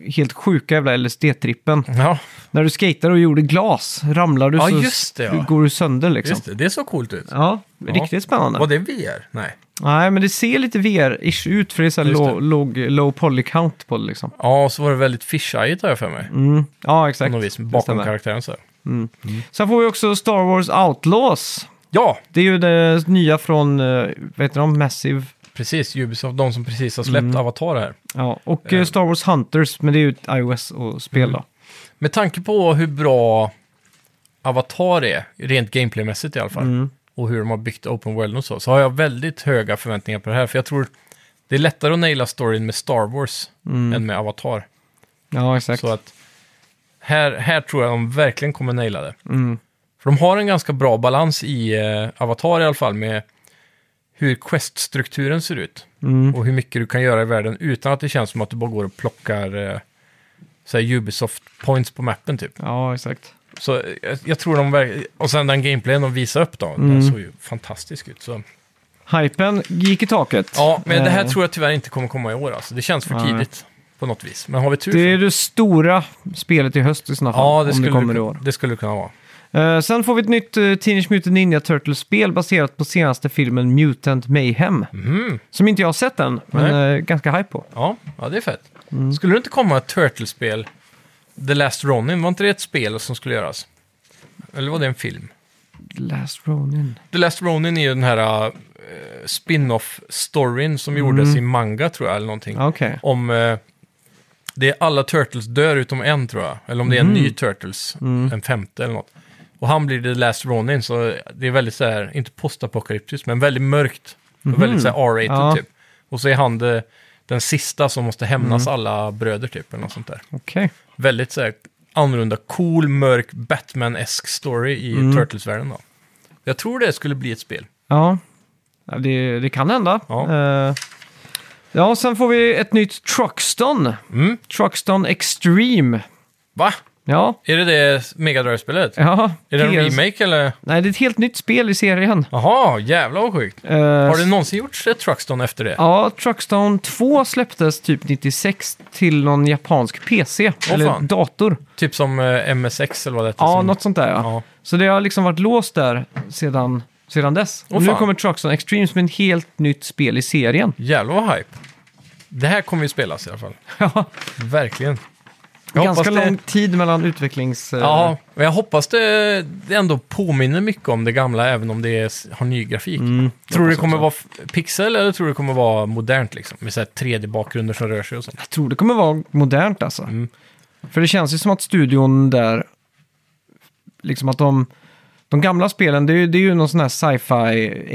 A: eh, helt sjuka jävla LSD-trippen.
B: Ja,
A: När du skater och gjorde glas, ramlar du
B: Ja,
A: så
B: just det, ja.
A: går du sönder liksom.
B: just det. Det såg coolt ut.
A: Ja, riktigt spännande.
B: Var det VR? Nej.
A: Nej, men det ser lite VR-ish ut för det är så här
B: Just det.
A: lo- låg, low poly count på det liksom.
B: Ja, och så var det väldigt fisheye har jag för mig.
A: Mm. Ja,
B: På
A: exakt.
B: något vis,
A: Det
B: bakom
A: stämmer.
B: karaktären så. här.
A: Sen får vi också Star Wars Outlaws.
B: Ja,
A: Det är ju det nya från, eh, vad heter de, Massive?
B: precis. Ubisoft, de som precis har släppt
A: Mm.
B: Avatar här.
A: Ja, och eh, Star Wars Hunters, men det är ju ett iOS och spel då.
B: Med tanke på hur bra Avatar är, rent gameplaymässigt i alla fall,
A: Mm.
B: och hur de har byggt Open World och så, så har jag väldigt höga förväntningar på det här. För jag tror det är lättare att naila storyn med Star Wars
A: Mm.
B: än med Avatar.
A: Ja, exakt.
B: Mm. Så att här, här tror jag de verkligen kommer naila det.
A: Mm.
B: För de har en ganska bra balans i eh, Avatar i alla fall med hur quest-strukturen ser ut
A: Mm.
B: och hur mycket du kan göra i världen utan att det känns som att du bara går och plockar eh, så här Ubisoft points på mappen typ.
A: Ja, exakt.
B: Så eh, jag, jag tror de verkligen... Och sen den gameplayen de visar upp då,
A: Mm.
B: den såg ju fantastisk ut. Så.
A: Hypen gick i taket.
B: Ja, men det här
A: Eh,
B: tror jag tyvärr inte kommer komma i år alltså. Det känns för
A: Nej.
B: tidigt på något vis. Men har vi tur
A: Det är
B: så...
A: det stora spelet i höst i sådana fall,
B: Ja, det
A: om
B: skulle,
A: det
B: det,
A: kommer
B: kun-
A: i år.
B: det skulle det kunna vara.
A: Eh, sen får vi ett nytt eh, Teenage Mutant Ninja Turtles-spel baserat på senaste filmen Mutant Mayhem.
B: Mm.
A: Som inte jag har sett än, men eh, ganska hype på.
B: Ja, ja, det är fett. Skulle det inte komma ett Turtles-spel? The Last Ronin, var inte det ett spel som skulle göras? Eller var det en film?
A: Last Ronin.
B: The Last Ronin är ju den här eh, spin-off-storyn som gjordes i manga tror jag, eller någonting.
A: Ja, Ah, Okej.
B: Om... eh, det är alla Turtles dör utom en tror jag. Eller om det är en
A: Mhm.
B: ny Turtles,
A: Mm.
B: en femte eller något. Och han blir The Last Ronin, så det är väldigt så här, inte postapokalyptiskt, men väldigt mörkt. Och väldigt så här R-rated
A: Mhm. Ja.
B: typ. Och så är han det, den sista som måste
A: Mm.
B: hämnas alla bröder typ, eller något sånt där.
A: Okej.
B: Väldigt så här annorlunda, cool, mörk, Batman-esk story i
A: Mm.
B: Turtles-världen då. Jag tror det skulle bli ett spel.
A: Ja. Ja, Det, det kan hända.
B: Ja.
A: Eh, ja, och sen får vi ett nytt Truckston.
B: Mm.
A: Truckston Extreme.
B: Va?
A: Ja.
B: Är det det Mega Drive-spelet?
A: ja.
B: Är det en
A: PS
B: remake eller?
A: Nej, det är ett helt nytt spel i serien.
B: Jaha, jävlar vad sjukt.
A: Eh,
B: Har det någonsin gjorts ett Truckstone efter det?
A: Ja, Truckstone 2 släpptes typ 96 till någon japansk PC, eller
B: fan.
A: dator.
B: Typ som eh, MSX eller vad det hette?
A: Ja,
B: som...
A: något sånt där ja.
B: Ja.
A: Så det har liksom varit låst där sedan, sedan dess.
B: Åh,
A: och nu
B: fan.
A: kommer Truckstone Extremes med ett helt nytt spel i serien. (laughs)
B: Jävlar vad hype. Det här kommer ju spelas i alla fall.
A: Ja,
B: Verkligen. Jag
A: ganska
B: hoppas det-
A: lång tid mellan utvecklings... eh,
B: Ja, men jag hoppas det, det ändå påminner mycket om det gamla, även om det är, har ny grafik. Mm. tror du det
A: hoppas
B: kommer vara f- pixel eller tror du det kommer vara modernt liksom? Med så här 3D-bakgrunder som rör sig och sånt.
A: Jag tror det kommer vara modernt alltså.
B: Mm.
A: För det känns ju som att studion där, liksom att de, de gamla spelen, det är, ju- det är ju någon sån här sci-fi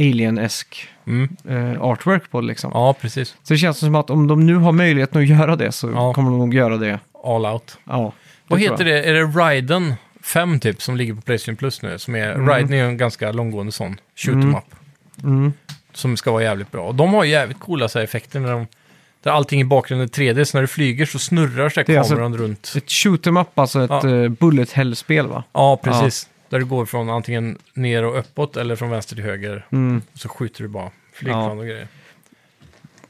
A: alien-esk
B: Mm.
A: eh, artwork på det liksom.
B: Ja, precis.
A: Så det känns som att om de nu har möjligheten att göra det så
B: Ja.
A: kommer de nog göra det.
B: All out.
A: Ja,
B: Vad
A: det tror
B: heter det? Är det Raiden 5 typ som ligger på Playstation Plus nu? Som
A: Mm.
B: är, Raiden är ju en ganska långgående sån shoot em up.
A: jag. Mm.
B: Som ska vara jävligt bra. Och de har ju jävligt coola så här, effekter när de... Där allting i bakgrunden är 3D, så när du flyger så snurrar så här,
A: Det är alltså-
B: kameran runt.
A: Ett shoot 'em up, alltså ett
B: Ja.
A: eh, bullet hell-spel va?
B: Ja, precis. Där du går från antingen ner och uppåt eller från vänster till höger.
A: Mm.
B: Så skjuter du bara flygplan
A: Ja.
B: och grejer.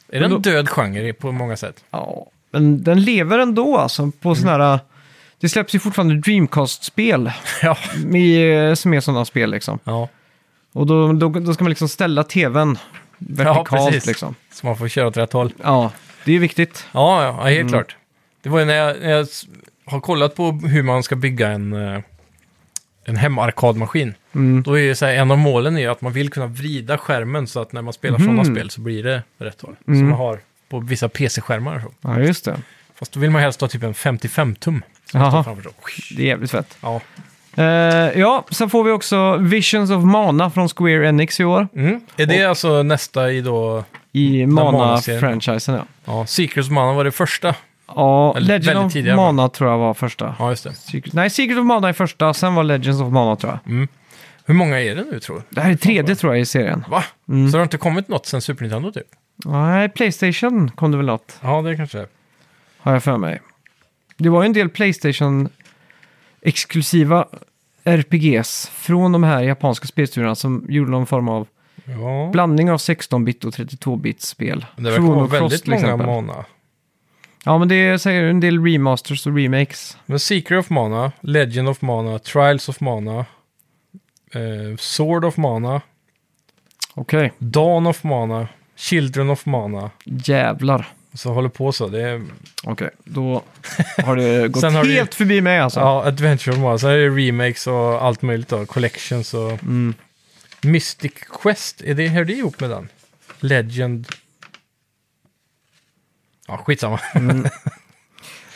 B: Är det en
A: då-
B: död genre i- på många sätt? (laughs)
A: Ja, men den lever ändå alltså
B: Mm.
A: på sån här... Det släpps ju fortfarande Dreamcast-spel
B: ja.
A: med, eh, som är sådana spel liksom.
B: ja.
A: Och då, då, då ska man liksom ställa tvn vertikalt
B: precis.
A: liksom.
B: Så man får köra åt rätt håll.
A: Ja, det är ju viktigt.
B: Ja, ja, ja helt klart. Det var ju när jag, när jag s- har kollat på hur man ska bygga en, eh, en hemarkadmaskin.
A: Mm.
B: Då är ju så här, en av målen är ju att man vill kunna vrida skärmen så att när man spelar sådana spel så blir det rätt håll. Som man har på vissa PC-skärmar. och så.
A: Ja, just det.
B: Fast då vill man helst ha typ en 55-tum. som
A: Jaha.
B: står framför så.
A: Det är jävligt fett.
B: Ja.
A: Eh, ja, sen får vi också Visions of Mana från Square Enix i år.
B: Mm. Är det alltså nästa i då...
A: I
B: Mana-serien.
A: Mana-franchisen, ja.
B: Ja, Secrets of Mana var det första.
A: Ja,
B: Eller
A: Legend
B: väldigt
A: of
B: tidigare, va?
A: Mana tror jag var första.
B: Ja, just det.
A: Secret- Nej, Secret of Mana är första, sen var Legends of Mana tror jag.
B: Hur många är det nu tror du?
A: Det här är tredje tror jag i serien.
B: Va? Så det har inte kommit något sen Super Nintendo typ?
A: Nej, Playstation kom det väl något,
B: Ja, det kanske
A: har jag för mig. Det var ju en del Playstation-exklusiva RPGs från de här japanska spelstudiorna som gjorde någon form av
B: Ja.
A: blandning av 16-bit och 32-bit spel.
B: Det verkar vara väldigt
A: till
B: många
A: exempel.
B: Mana.
A: Ja, men det är säkert en del remasters och remakes.
B: Men Secret of Mana, Legend of Mana, Trials of Mana, eh, Sword of Mana,
A: Okej,
B: Dawn of Mana, Children of Mana.
A: jävlar.
B: Så håller på så. Det är,
A: Okej, då (laughs) har det gått
B: Sen har det ju-
A: helt förbi mig alltså.
B: ja, Adventure of Mana. Sen är det remakes och allt möjligt då. Collections och...
A: Mm.
B: Mystic Quest, är det, hör det ihop med den? Legend... Ja, skitsamma.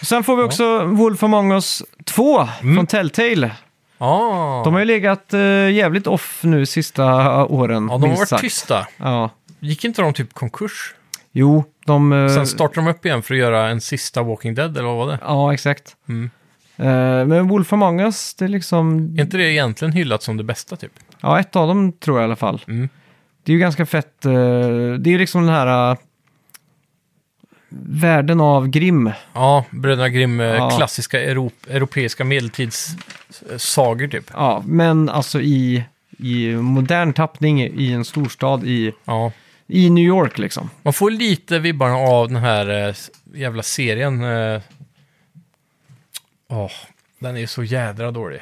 A: Sen får vi också Wolf Among Us 2
B: Mm.
A: från Telltale.
B: Ah.
A: De har ju legat eh, jävligt off nu sista åren.
B: Ja, de har
A: minst
B: varit
A: sagt.
B: tysta.
A: Ja.
B: Gick inte de typ konkurs?
A: Jo, de... eh,
B: Sen startade de upp igen för att göra en sista Walking Dead, eller vad var det?
A: ja, exakt.
B: Mm.
A: Eh, men Wolf Among Us, det är liksom...
B: Är inte det egentligen hyllat som det bästa typ?
A: Ja, ett av dem tror jag i alla fall.
B: Mm.
A: Det är ju ganska fett. eh, det är ju liksom den här... eh, världen av Grimm.
B: Ja, Bröderna Grimm, eh,
A: Ja.
B: klassiska europ- europeiska medeltidssagor typ.
A: Ja, men alltså i, i modern tappning i en storstad i,
B: Ja.
A: i New York liksom.
B: Man får lite vibbarna av den här eh, s- jävla serien. eh. Åh, den är så jädra dålig.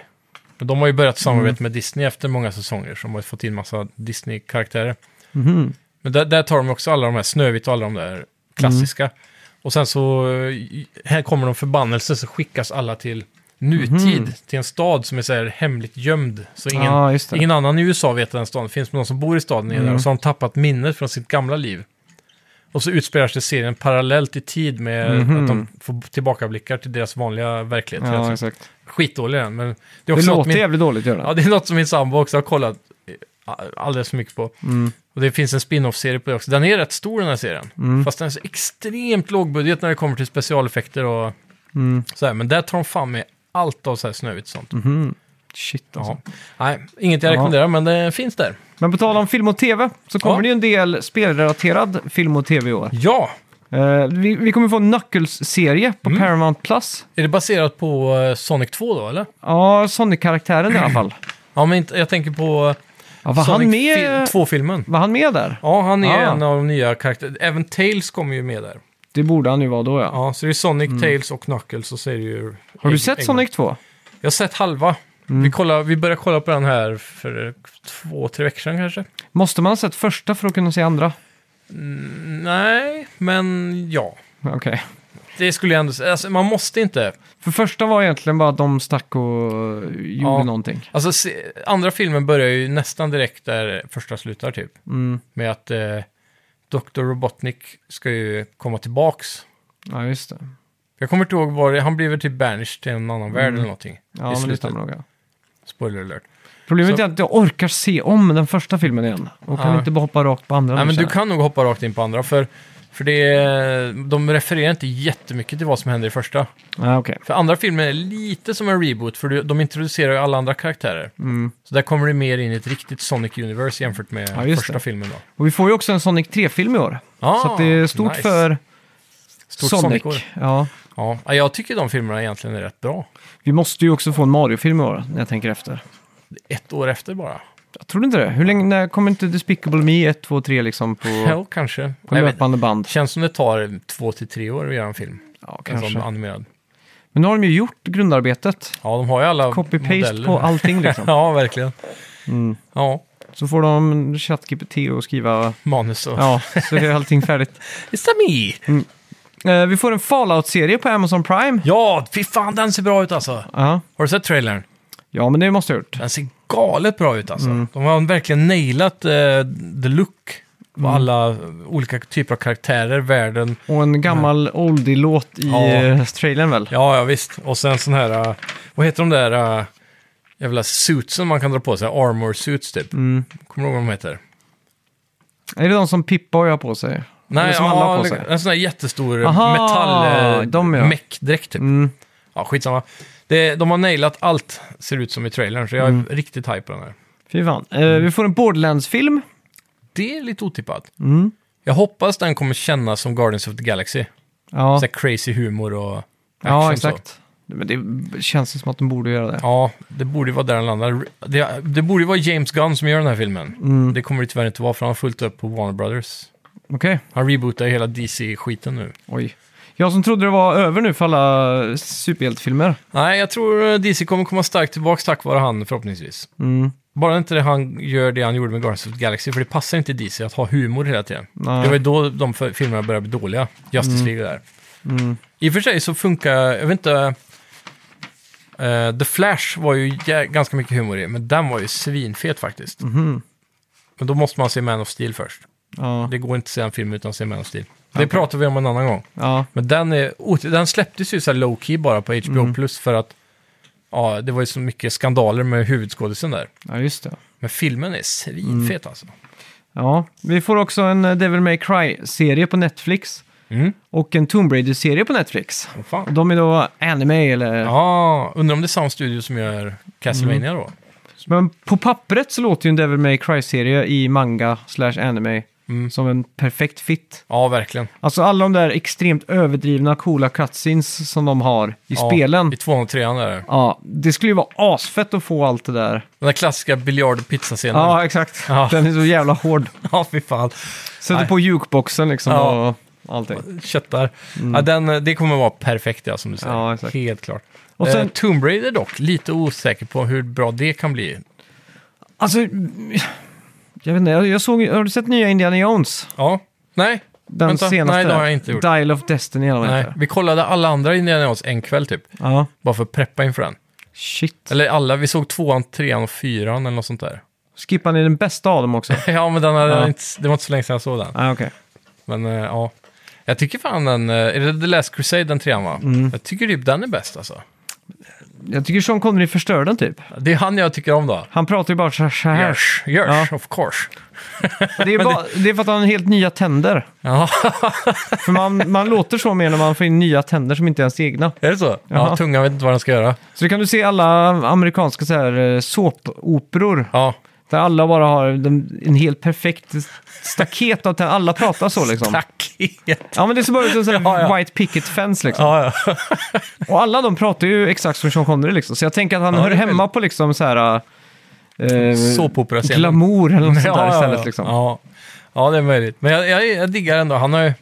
B: Men de har ju börjat samarbeta
A: Mm.
B: med Disney efter många säsonger, som har fått in massa Disney-karaktärer.
A: Mhm.
B: Men där, där tar de också alla de här, Snövit och alla de där klassiska.
A: Mm.
B: Och sen så, eh, här kommer de förbannelse, så skickas alla till nutid, till en stad som är så här hemligt gömd. Så ingen,
A: Mhm. Ja, just det. Mm.
B: ingen annan i USA vet den staden finns, men de som bor i staden är där. Och så har de tappat minnet från sitt gamla liv. Och så utspelar sig serien parallellt i tid med
A: Mhm.
B: att de får tillbakablickar till deras vanliga verklighet. hela
A: Ja,
B: tiden.
A: exakt.
B: Skitdålig den, men det är
A: Det
B: också något
A: låter
B: min,
A: jävligt dåligt gör det.
B: Ja, det är något som min sambo också har kollat eh, alldeles för mycket på.
A: Mm,
B: Och det finns en spin-off-serie på det också. Den är rätt stor den här serien.
A: mm,
B: Fast den är så extremt lågbudget när det kommer till specialeffekter och
A: Mm.
B: så här. Men där tar de fan med allt av så här snövigt och sånt.
A: Mhm. Shit alltså.
B: Ja. Nej, inget jag
A: Ja.
B: rekommenderar, men det finns där.
A: Men på tal om film och tv så kommer
B: Ja.
A: det ju en del spelrelaterad film och tv i år.
B: Ja,
A: Eh, vi, vi kommer få en Knuckles-serie på Paramount Plus.
B: är det baserat på eh, Sonic 2 då, eller?
A: Ja, Sonic-karaktären i alla fall.
B: Ja, men inte, jag tänker på eh,
A: Ja, var, han
B: Sonic
A: med,
B: 2-filmen.
A: var han med där?
B: Ja, han är
A: Ah.
B: en av de nya karaktärerna. Även Tails kommer ju med där.
A: Det borde han ju vara då ja.
B: Ja, så det är Sonic, Tails och Knuckles och så är det ju...
A: Mm. Har du
B: Egg-
A: sett
B: Eggman.
A: Sonic Mm. 2?
B: Jag har sett halva. Vi, kollar, vi började kolla på den här för eh, två, tre veckor sedan kanske.
A: Måste man ha sett första för att kunna se andra?
B: Nej, men ja.
A: Okej.
B: Det skulle jag ändå säga. Alltså, man måste inte.
A: För första var egentligen bara att de stack och eh, gjorde
B: Ja.
A: någonting.
B: Alltså, se, andra filmen börjar ju nästan direkt där första slutar typ.
A: Mm.
B: Med att eh, Dr. Robotnik ska ju komma tillbaks.
A: Ja, just det.
B: Jag kommer inte ihåg vad det Han blir väl typ banished till en annan värld eller någonting.
A: Ja,
B: i
A: men det
B: slutet.
A: stämmer nog. ja.
B: Spoiler alert.
A: Problemet
B: Så-
A: är att jag orkar se om den första filmen igen. Och kan
B: Ja.
A: inte bara hoppa rakt på andra.
B: Nej,
A: nu,
B: men du
A: känner jag.
B: kan nog hoppa rakt in på andra. För, för det, är- de refererar inte jättemycket till vad som händer i första.
A: Ja, okej.
B: För andra filmen är lite som en reboot, för du- de introducerar ju alla andra karaktärer.
A: Mm.
B: Så där kommer det mer in i ett riktigt Sonic Universe jämfört med
A: Ja, just
B: första
A: det.
B: filmen då.
A: Och vi får ju också en Sonic 3-film i år.
B: Ah,
A: så att det är stort
B: nice.
A: för
B: Stort
A: Sonic.
B: Sonic-år.
A: ja.
B: Ja, Ja, jag tycker de filmerna egentligen är rätt bra.
A: Vi måste ju också få en Mario-film i år, när jag tänker efter.
B: Ett år efter bara.
A: Jag tror inte det. Hur länge när kommer inte Despicable Me 1, 2, 3 liksom på,
B: Ja, kanske.
A: på
B: Jag vet,
A: löpande band?
B: känns som det tar två till tre år att göra en film.
A: Ja,
B: En sån
A: kanske.
B: animerad.
A: Men nu har de ju gjort grundarbetet.
B: Ja, de har ju alla
A: Copy-paste
B: modeller.
A: på allting liksom.
B: (laughs)
A: Mm.
B: Ja, verkligen. Ja,
A: Så får de ChatGPT och skriva,
B: manus och...
A: ja, så är allting färdigt.
B: It's a me!
A: Eh, vi får en Fallout-serie på Amazon Prime.
B: Ja, fy fan den ser bra ut alltså.
A: Ja,
B: Har du sett trailern?
A: ja men det måste jag ha gjort.
B: Den ser galet bra ut alltså.
A: Mm.
B: De har verkligen nailat eh, the look. På
A: Mm.
B: alla eh, olika typer av karaktärer, världen.
A: Och en gammal oldie-låt i
B: Ja.
A: eh, trailern väl?
B: Ja, ja visst. Och sen sån här, eh, vad heter de där eh, jävla suitsen man kan dra på sig. Armor suits typ.
A: Mm.
B: Kommer du ihåg vad de heter?
A: Är det de som Pippa och jag har på sig? Eller
B: Nej,
A: som alla har på
B: ja,
A: sig?
B: en sån här jättestor
A: Aha, de, ja.
B: metall-meck-dräkt typ.
A: Mm.
B: Ja, skitsamma. Det, de har nailat allt, ser ut som i trailern, så jag är
A: Mm.
B: riktigt hype på den här.
A: Fy fan. Eh, vi får en Borderlands-film.
B: Det är lite otippat.
A: Mm.
B: Jag hoppas den kommer kännas som Guardians of the Galaxy.
A: Ja,
B: Så här crazy humor och action.
A: ja
B: så.
A: exakt. Men det känns ju som att de borde göra det.
B: Ja, det borde ju vara där den landar. Det, det borde ju vara James Gunn som gör den här filmen.
A: Mm.
B: Det kommer det tyvärr inte vara, för han har fullt upp på Warner Brothers.
A: Okej,
B: Han rebootar ju hela DC-skiten nu.
A: oj. Jag som trodde det var över nu för alla superhjältefilmer.
B: Nej, jag tror DC kommer komma starkt tillbaka tack vare han förhoppningsvis.
A: Mm.
B: Bara inte det han gör det han gjorde med Guardians of the Galaxy, för det passar inte DC att ha humor hela tiden.
A: Nej.
B: Det var ju då de för- filmerna började bli dåliga, Justice League och där.
A: Mm.
B: I och för sig så funkar, jag vet inte, eh, The Flash var ju jä- ganska mycket humor i, men den var ju svinfet faktiskt.
A: Mhm.
B: Men då måste man se Man of Steel först.
A: Ja.
B: Det går inte att se en film utan att se Man of Steel. Det pratar vi om en annan gång.
A: ja,
B: Men den, är, ot- den släpptes ju så här low key bara på
A: Mm.
B: HBO Plus för att ja, det var ju så mycket skandaler med huvudskådisen där.
A: ja, just det.
B: Men filmen är
A: Mm.
B: svinfet alltså.
A: Ja, vi får också en eh, Devil May Cry-serie på Netflix.
B: Mm.
A: Och en Tomb Raider-serie på Netflix.
B: Vad fan.
A: Och de är då anime eller...
B: Ja, undrar om det är samma studio som gör Castlevania
A: Mm.
B: då?
A: Men på pappret så låter ju en Devil May Cry-serie i manga slash anime
B: Mm.
A: som en perfekt fit.
B: Ja, verkligen.
A: Alltså alla de där extremt överdrivna coola cutscenes som de har i
B: Ja,
A: spelen.
B: I 203 där.
A: Ja, det skulle ju vara asfett att få allt det där.
B: Den där klassiska biljard och pizzascenen. Ja.
A: Ja, exakt.
B: Ja.
A: Den är så jävla hård.
B: (laughs) ja, fy fan.
A: Sätter
B: Nej.
A: på jukeboxen liksom
B: Ja.
A: och allting.
B: Köttar. Ja, den, eh, det kommer vara perfekt, ja, som du säger.
A: Mm. Ja, exakt.
B: Helt klart.
A: Och sen-
B: eh, Tomb Raider dock, lite osäker på hur bra det kan bli.
A: Alltså, jag vet inte, jag jag såg, har du sett nya Indiana Jones?
B: Ja, nej.
A: Den
B: Vänta,
A: senaste?
B: nej, det har jag inte gjort.
A: Dial of Destiny eller vad den
B: nej.
A: heter.
B: Vi kollade alla andra Indiana Jones en kväll typ,
A: Ja,
B: bara för att preppa inför den.
A: shit.
B: Eller alla, vi såg tvåan, trean och fyran eller något sånt där. (laughs)
A: Skippar ni den bästa av dem också?
B: ja, men den hade
A: Ja.
B: Inte, det var inte så länge sedan jag såg den.
A: ah, okej.
B: Men eh, ja, jag tycker fan den, eh, är det The Last Crusade den trean va?
A: Mm.
B: Jag tycker typ den är bäst alltså.
A: Jag tycker Sean Connery förstör den typ.
B: Det är han jag tycker om då.
A: Han pratar ju bara så så här.
B: Görs, görs, of course.
A: Det, är bara, det är för att han har helt nya tänder.
B: Ja, (laughs)
A: För man, man låter så mer när man får in nya tänder som inte ens är egna.
B: är det så?
A: Jaha.
B: Ja, tungan vet inte vad den ska göra.
A: Så det kan du se alla amerikanska så här, eh, såpoperor.
B: Ja,
A: Där alla bara har den, en helt perfekt staket av tänder. Alla pratar så liksom.
B: tack. ja,
A: Ja men det ser bara ut som en sån här
B: (laughs) Ja, ja.
A: white picket fence liksom.
B: ja.
A: Och alla de pratar ju exakt som Sean Connery liksom. Så jag tänker att han
B: Ja,
A: hör
B: det är väl-
A: hemma på liksom så här... Eh,
B: Såpopera-scenen.
A: glamour eller något sånt
B: (laughs) Ja,
A: där
B: ja,
A: istället
B: ja.
A: liksom.
B: Ja. ja, det är möjligt. Men jag, jag, jag diggar ändå, han har ju...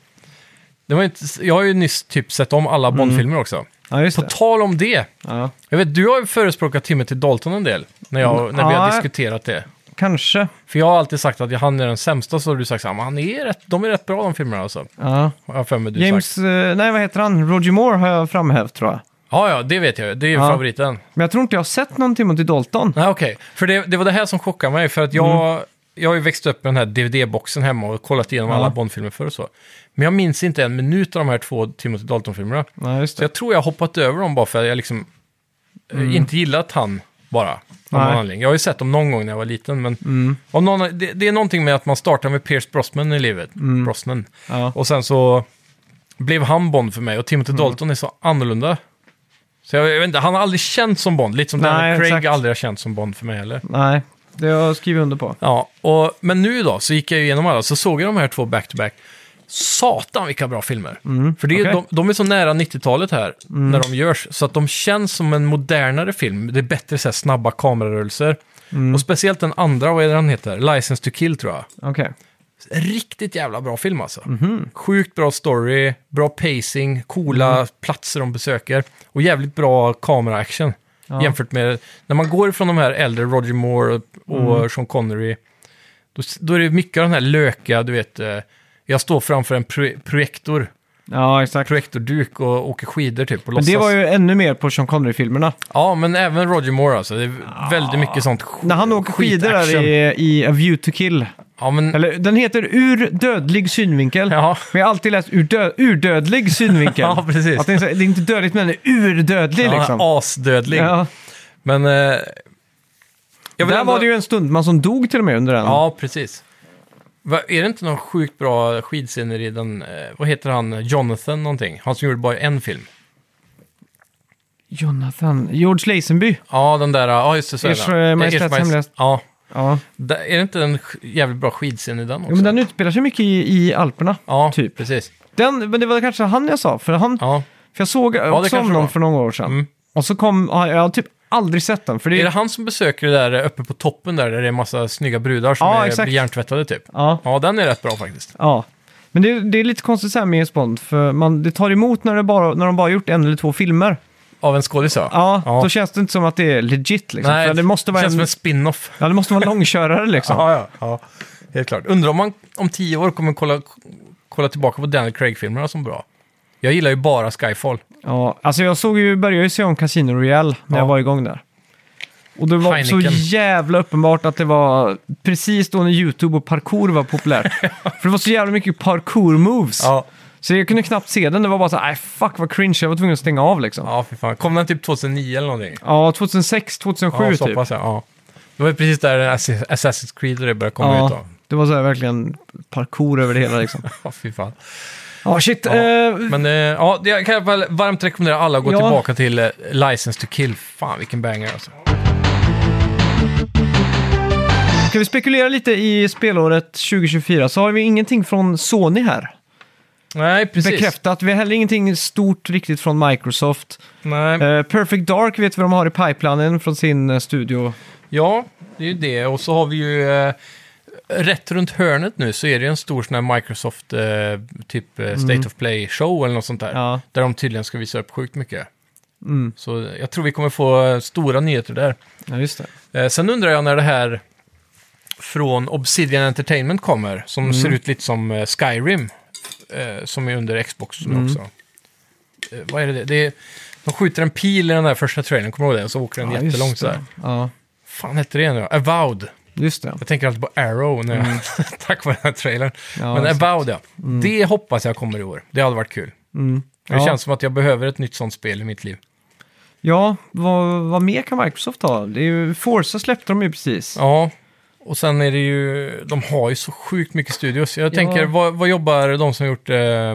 B: Det var inte, jag har ju nyss typ sett om alla Bond-filmer också.
A: Ja, Mm. just
B: På
A: det.
B: tal om det,
A: Ja.
B: jag vet du har ju förespråkat Timothy Dalton en del när, jag, när vi har
A: Ja.
B: diskuterat det.
A: Kanske.
B: För jag har alltid sagt att han är den sämsta, så har du sagt att han är rätt, de är rätt bra de filmerna alltså.
A: Ja.
B: Har jag för mig du sagt.
A: James, eh, nej vad heter han? Roger Moore har jag framhävt tror jag.
B: Ja, ja, det vet jag ju. Det är ju
A: Ja.
B: favoriten.
A: Men jag tror inte jag har sett någon Timothy Dalton.
B: Nej, okej. För det, det var det här som chockade mig, för att jag,
A: Mm.
B: jag har ju växt upp med den här DVD-boxen hemma och kollat igenom
A: Ja.
B: alla Bond-filmer förr och så. Men jag minns inte en minut av de här två Timothy Dalton-filmerna.
A: Nej, just
B: Så
A: det.
B: jag tror jag har hoppat över dem bara för att jag liksom eh, inte gillat han bara. av någon
A: Mm. Nej. Mm.
B: anledning. Jag har ju sett dem någon gång när jag var liten, men av någon, det, det är någonting med att man startar med Pierce Brosnan i livet.
A: Mm.
B: Brosnan.
A: Ja.
B: Och sen så blev han Bond för mig och Timothy
A: Mm.
B: Dalton är så annorlunda. Så jag, jag vet inte, han har aldrig känt som Bond, lite som
A: Nej,
B: Daniel Craig
A: exakt.
B: aldrig har känt som Bond för mig heller.
A: Nej, det har jag skrivit under på.
B: Ja, och, men nu då så gick jag igenom alla, så såg jag de här två back-to-back. Satan vilka bra filmer! För det är,
A: Mm, okej. Mm.
B: de, de är så nära 90-talet här, när de görs, så att de känns som en modernare film. Det är bättre så här, snabba kamerarörelser.
A: Mm.
B: Och speciellt den andra, vad är det den heter? License to kill tror jag.
A: Okej.
B: Riktigt jävla bra film alltså. Sjukt bra story, bra pacing, coola
A: Mm.
B: platser de besöker och jävligt bra kamera-action.
A: Ja.
B: Jämfört med när man går ifrån de här äldre, Roger Moore och- och
A: Mm.
B: Sean Connery, då, då är det mycket av den här löka, du vet, eh, jag står framför en pro projektor,
A: Ja, exakt.
B: projektorduk och åker skidor typ och
A: Men
B: låtsas.
A: det var ju ännu mer på Sean Connery-filmerna.
B: Ja, men även Roger Moore alltså. Det är väldigt mycket sånt sk-
A: När han åker skidor där
B: skitaction.
A: i, i A View to Kill.
B: Ja, men...
A: Eller den heter Ur dödlig synvinkel.
B: Ja.
A: Men jag har alltid läst ur, dö- ur dödlig synvinkel.
B: (laughs) Ja, precis.
A: Att liksom. det, är så, det är inte dödligt men den är urdödlig
B: Ja,
A: liksom.
B: Asdödlig.
A: Ja,
B: Men eh, Jag vill
A: Där
B: ändå-
A: var det ju en stuntman som dog till och med under den.
B: Ja, precis. Va, är det inte någon sjukt bra skidscener i den, eh, vad heter han, Jonathan någonting? Han som gjorde bara en film.
A: Jonathan, George Lazenby.
B: Ja, den där, ja just det, så är
A: Ers,
B: det.
A: eh, Majestäts
B: Ers Majest-
A: Hemlighet.
B: Ja,
A: Ja.
B: Där- är det inte en sk- jävligt bra skidscen i den också?
A: Jo, men den utspelar sig mycket i, i Alperna.
B: ja,
A: typ.
B: precis.
A: Den, men det var kanske han jag sa, för, han,
B: Ja.
A: för jag såg också
B: kanske
A: om
B: det var.
A: någon för några år sedan.
B: Mm.
A: Och så kom, ja, jag har typ aldrig sett den. För det,
B: Är det han som besöker det där uppe på toppen där, där det är en massa snygga brudar som
A: Ja,
B: är,
A: exakt.
B: blir hjärntvättade typ?
A: Ja,
B: Ja, den är rätt bra faktiskt.
A: ja. Men det, det är lite konstigt så här med Bond, för man, det tar emot när, det bara, när de bara gjort en eller två filmer.
B: Av en skådis ja.
A: Ja, då känns det inte som att det är legit liksom.
B: Nej,
A: för det måste vara
B: känns
A: en,
B: som en spin-off.
A: ja, det måste vara en långkörare liksom.
B: (laughs) Ja, ja, ja. Helt klart. Undrar om man om tio år kommer kolla, kolla tillbaka på Daniel Craig-filmerna som bra. Jag gillar ju bara Skyfall.
A: Ja, alltså jag såg ju, började ju se om Casino Royale när
B: Ja.
A: jag var igång där. Och det var så
B: Heineken.
A: jävla uppenbart att det var precis då när YouTube och parkour var
B: (laughs)
A: populärt. För det var så jävla mycket parkour-moves.
B: Ja,
A: Så jag kunde knappt se den, det var bara så här, "Aj, fuck vad cringe, jag var tvungen att stänga av liksom. Ja,
B: ja fy fan. Kom den typ 2009 eller någonting?
A: 2006, 2007
B: ja, så
A: typ.
B: pass, ja. ja. Det var ju precis där Ass- Assassin's Creed och det började komma ut
A: Ja,
B: då. (laughs)
A: det var så här verkligen parkour över det hela liksom.
B: Ja, fy fan.
A: Ja, shit.
B: (laughs) Ja,
A: eh,
B: Men eh, ja, det- jag kan i alla fall varmt rekommendera alla att gå
A: Ja.
B: tillbaka till eh, License to Kill. Fan, vilken banger alltså.
A: Ska vi spekulera lite i spelåret 2024 så har vi ingenting från Sony här.
B: Nej, precis.
A: Bekräftat. Vi har heller ingenting stort riktigt från Microsoft.
B: Nej.
A: Eh, Perfect Dark vet vi vad de har i pipelinen från sin eh, studio.
B: Ja, det är ju det. Och så har vi ju... Eh, rätt runt hörnet nu så är det ju en stor sån här Microsoft eh, typ eh, State of Play-show eller något sånt där.
A: Mm. Ja.
B: Där de tydligen ska visa upp sjukt mycket.
A: Mm.
B: Så jag tror vi kommer få eh, stora nyheter där.
A: Ja, just det.
B: Eh, sen undrar jag när det här från Obsidian Entertainment kommer, som
A: Mm.
B: ser ut lite som eh, Skyrim, eh, som är under Xbox
A: Mm.
B: nu också. Eh, vad är det? det är, de skjuter en pil i den där första trailern, kommer du ihåg det? Så åker den
A: Ja,
B: jättelångt
A: just
B: så här.
A: det. Ja,
B: fan hette det nu? Avowed.
A: just det.
B: Jag tänker alltid på Arrow när jag, (laughs) tack vare den här trailern.
A: Mm. Ja,
B: Men
A: exakt.
B: Avowed, ja. Det hoppas jag kommer i år. Det hade varit kul.
A: Mm.
B: Det
A: Ja.
B: känns som att jag behöver ett nytt sånt spel i mitt liv.
A: Ja, vad, vad mer kan Microsoft ha? Det är ju, Forza släppte de ju precis.
B: Ja, och sen är det ju, de har ju så sjukt mycket studios. Jag
A: Ja.
B: tänker, vad, vad jobbar de som gjort eh,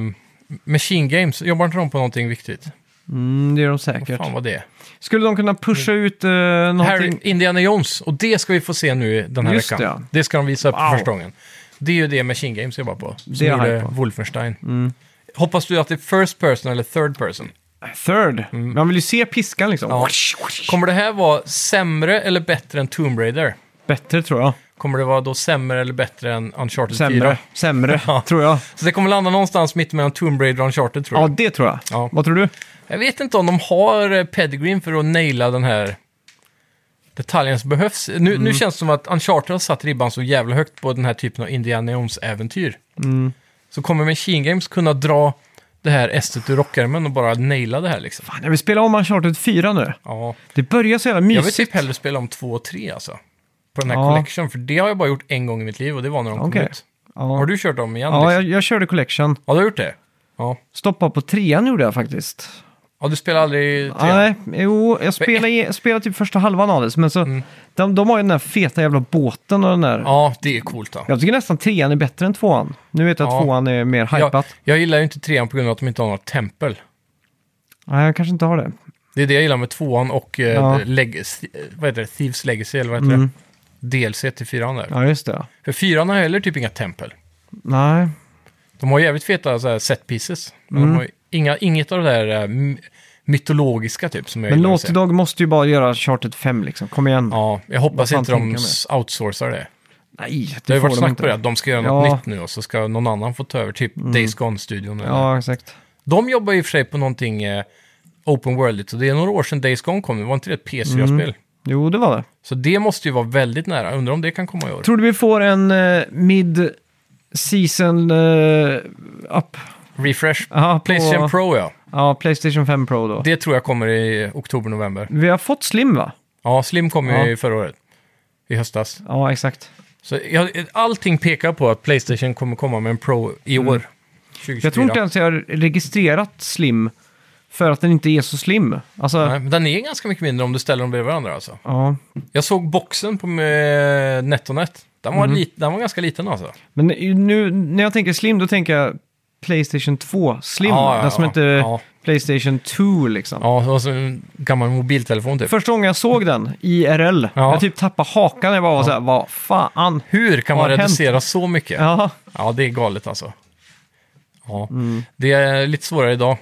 B: Machine Games? Jobbar inte de på någonting viktigt?
A: Mm, det är de
B: Vad
A: säkert.
B: fan Mm. var det?
A: Skulle de kunna pusha ut eh, någonting?
B: Harry, Indiana Jones, och det ska vi få se nu den här
A: Just
B: veckan.
A: det, ja.
B: Det ska de visa upp
A: Wow.
B: för första gången. Det är ju det Machine Games jobbar på. Som
A: Det är jag
B: gjorde
A: hype på. Mm.
B: Wolfenstein. Hoppas du att det är first person eller third person?
A: Third. Man vill ju se piskan liksom.
B: Mm. Ja. Kommer det här vara sämre eller bättre än Tomb Raider?
A: Bättre tror jag.
B: Kommer det vara då sämre eller bättre än Uncharted 4?
A: Sämre. Sämre,
B: (laughs) Ja.
A: tror jag.
B: Så det kommer landa någonstans mitt mellan Tomb Raider och Uncharted tror jag.
A: Ja, det tror jag.
B: Ja.
A: Vad tror du?
B: Jag vet inte om de har eh, pedigreen för att naila den här detaljen som behövs. Nu,
A: Mm.
B: nu känns det som att Uncharted har satt ribban så jävla högt på den här typen av Indiana Jones-äventyr.
A: Mm.
B: Så kommer Machine Games kunna dra det här estet ur rockärmen och bara naila det här liksom.
A: Fan, jag vill spela om Uncharted 4 nu.
B: Ja.
A: Det börjar så jävla
B: Jag vill
A: mysigt.
B: typ hellre spela om 2 och 3 alltså. På den här
A: Ja.
B: collection, för det har jag bara gjort en gång i mitt liv och det var när de
A: Okej.
B: kom ut.
A: Ja,
B: Har du kört dem igen?
A: ja
B: liksom?
A: jag, jag körde Collection.
B: ja du har gjort det? Ja.
A: Stoppa på trean gjorde jag faktiskt.
B: Ja, du spelar aldrig 3?
A: Nej, jo, jag spelade, jag spelade typ första halvan av det, men så, de, de har ju den där feta jävla båten och den där.
B: Mm. Ja, det är coolt då.
A: Jag tycker nästan trean är bättre än tvåan. Nu vet jag att
B: Ja.
A: tvåan är mer
B: Jag,
A: hypat.
B: jag gillar ju inte trean på grund av att de inte har något tempel.
A: Nej, jag kanske inte har det.
B: Det är det jag gillar med tvåan och eh,
A: Ja. Mm.
B: Legacy, eh, vad heter det? Thieves Legacy, eller vad heter det? DLC till fyran där.
A: Ja, just det.
B: För fyran har heller typ inga tempel.
A: Nej,
B: De har jävligt feta så här, set pieces. Men
A: Mm.
B: de har ju inga, inget av det där eh, my- mytologiska typ som jag
A: men
B: gillar att
A: Naughty
B: se.
A: Dog måste ju bara göra Charted 5 liksom. Kom igen.
B: Ja, jag hoppas
A: fan
B: inte de
A: tänker
B: s- outsourcar det.
A: Nej, det,
B: Det har ju
A: får
B: varit
A: de
B: snack
A: inte.
B: på det, att de ska göra något
A: Ja. Mm.
B: nytt nu och så ska någon annan få ta över, typ Days Gone-studion. eller-
A: Ja, exakt.
B: De jobbar i och för sig på någonting eh, open worldigt, så det är några år sedan Days Gone kom, det var inte det ett PS4-spel?
A: Mm. Jo, det var det.
B: Så det måste ju vara väldigt nära, undrar om det kan komma i år.
A: Tror du vi får en eh, mid-season eh, up?
B: Refresh.
A: Ja, på-
B: Playstation Pro ja.
A: Ja, Playstation 5 Pro då.
B: Det tror jag kommer i oktober-november.
A: Vi har fått Slim va?
B: Ja, Slim kom
A: Ja.
B: ju i förra året. I höstas.
A: Ja, exakt.
B: Så jag, allting pekar på att Playstation
A: Mm.
B: kommer komma med en Pro i år. 2024.
A: Jag tror inte ens jag har registrerat Slim För att den inte är så slim. Alltså,
B: Nej, men den är ganska mycket mindre om du ställer dem bredvid varandra alltså.
A: ja.
B: Jag såg boxen på eh, NetOnNet. Den var,
A: Mm.
B: lit, den var ganska liten alltså.
A: Men nu när jag tänker slim, då tänker jag Playstation 2 slim.
B: Ja, ja,
A: den som
B: ja.
A: inte
B: Ja.
A: Playstation 2 liksom.
B: Ja, det var som en gammal mobiltelefon typ.
A: Första gången jag såg den, IRL,
B: Ja.
A: jag typ tappade hakan. Jag bara var såhär, vad fan?
B: Hur kan man
A: Vad har hänt?
B: reducera så mycket? Ja.
A: Ja.
B: det är galet alltså. Ja,
A: Mm.
B: det är lite svårare idag.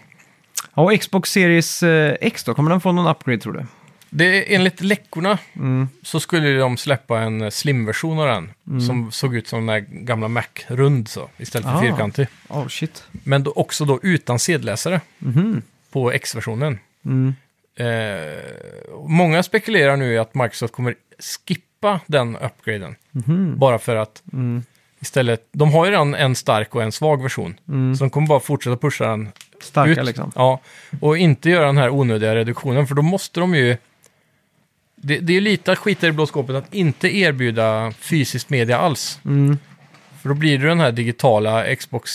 A: ja, och Xbox Series eh, X då, kommer den få någon upgrade tror du?
B: Det, enligt läckorna så skulle ju de släppa en eh, slim-version av den. Som såg ut som den där gamla Mac-rund så, istället för
A: Ah.
B: fyrkantig.
A: Oh shit.
B: Men då, också då utan sedläsare
A: Mhm.
B: på X-versionen.
A: Mm,
B: Eh, och många spekulerar nu i att Microsoft kommer skippa den upgraden.
A: mhm.
B: Bara för att istället, de har ju redan en stark och en svag version. Så de kommer bara fortsätta pusha den
A: Starka
B: ut.
A: liksom.
B: Ja, och inte göra den här onödiga reduktionen, för då måste de ju... Det, det är ju lite att skita i det blå skåpet att inte erbjuda fysiskt media alls.
A: Mm.
B: För då blir det den här digitala Xbox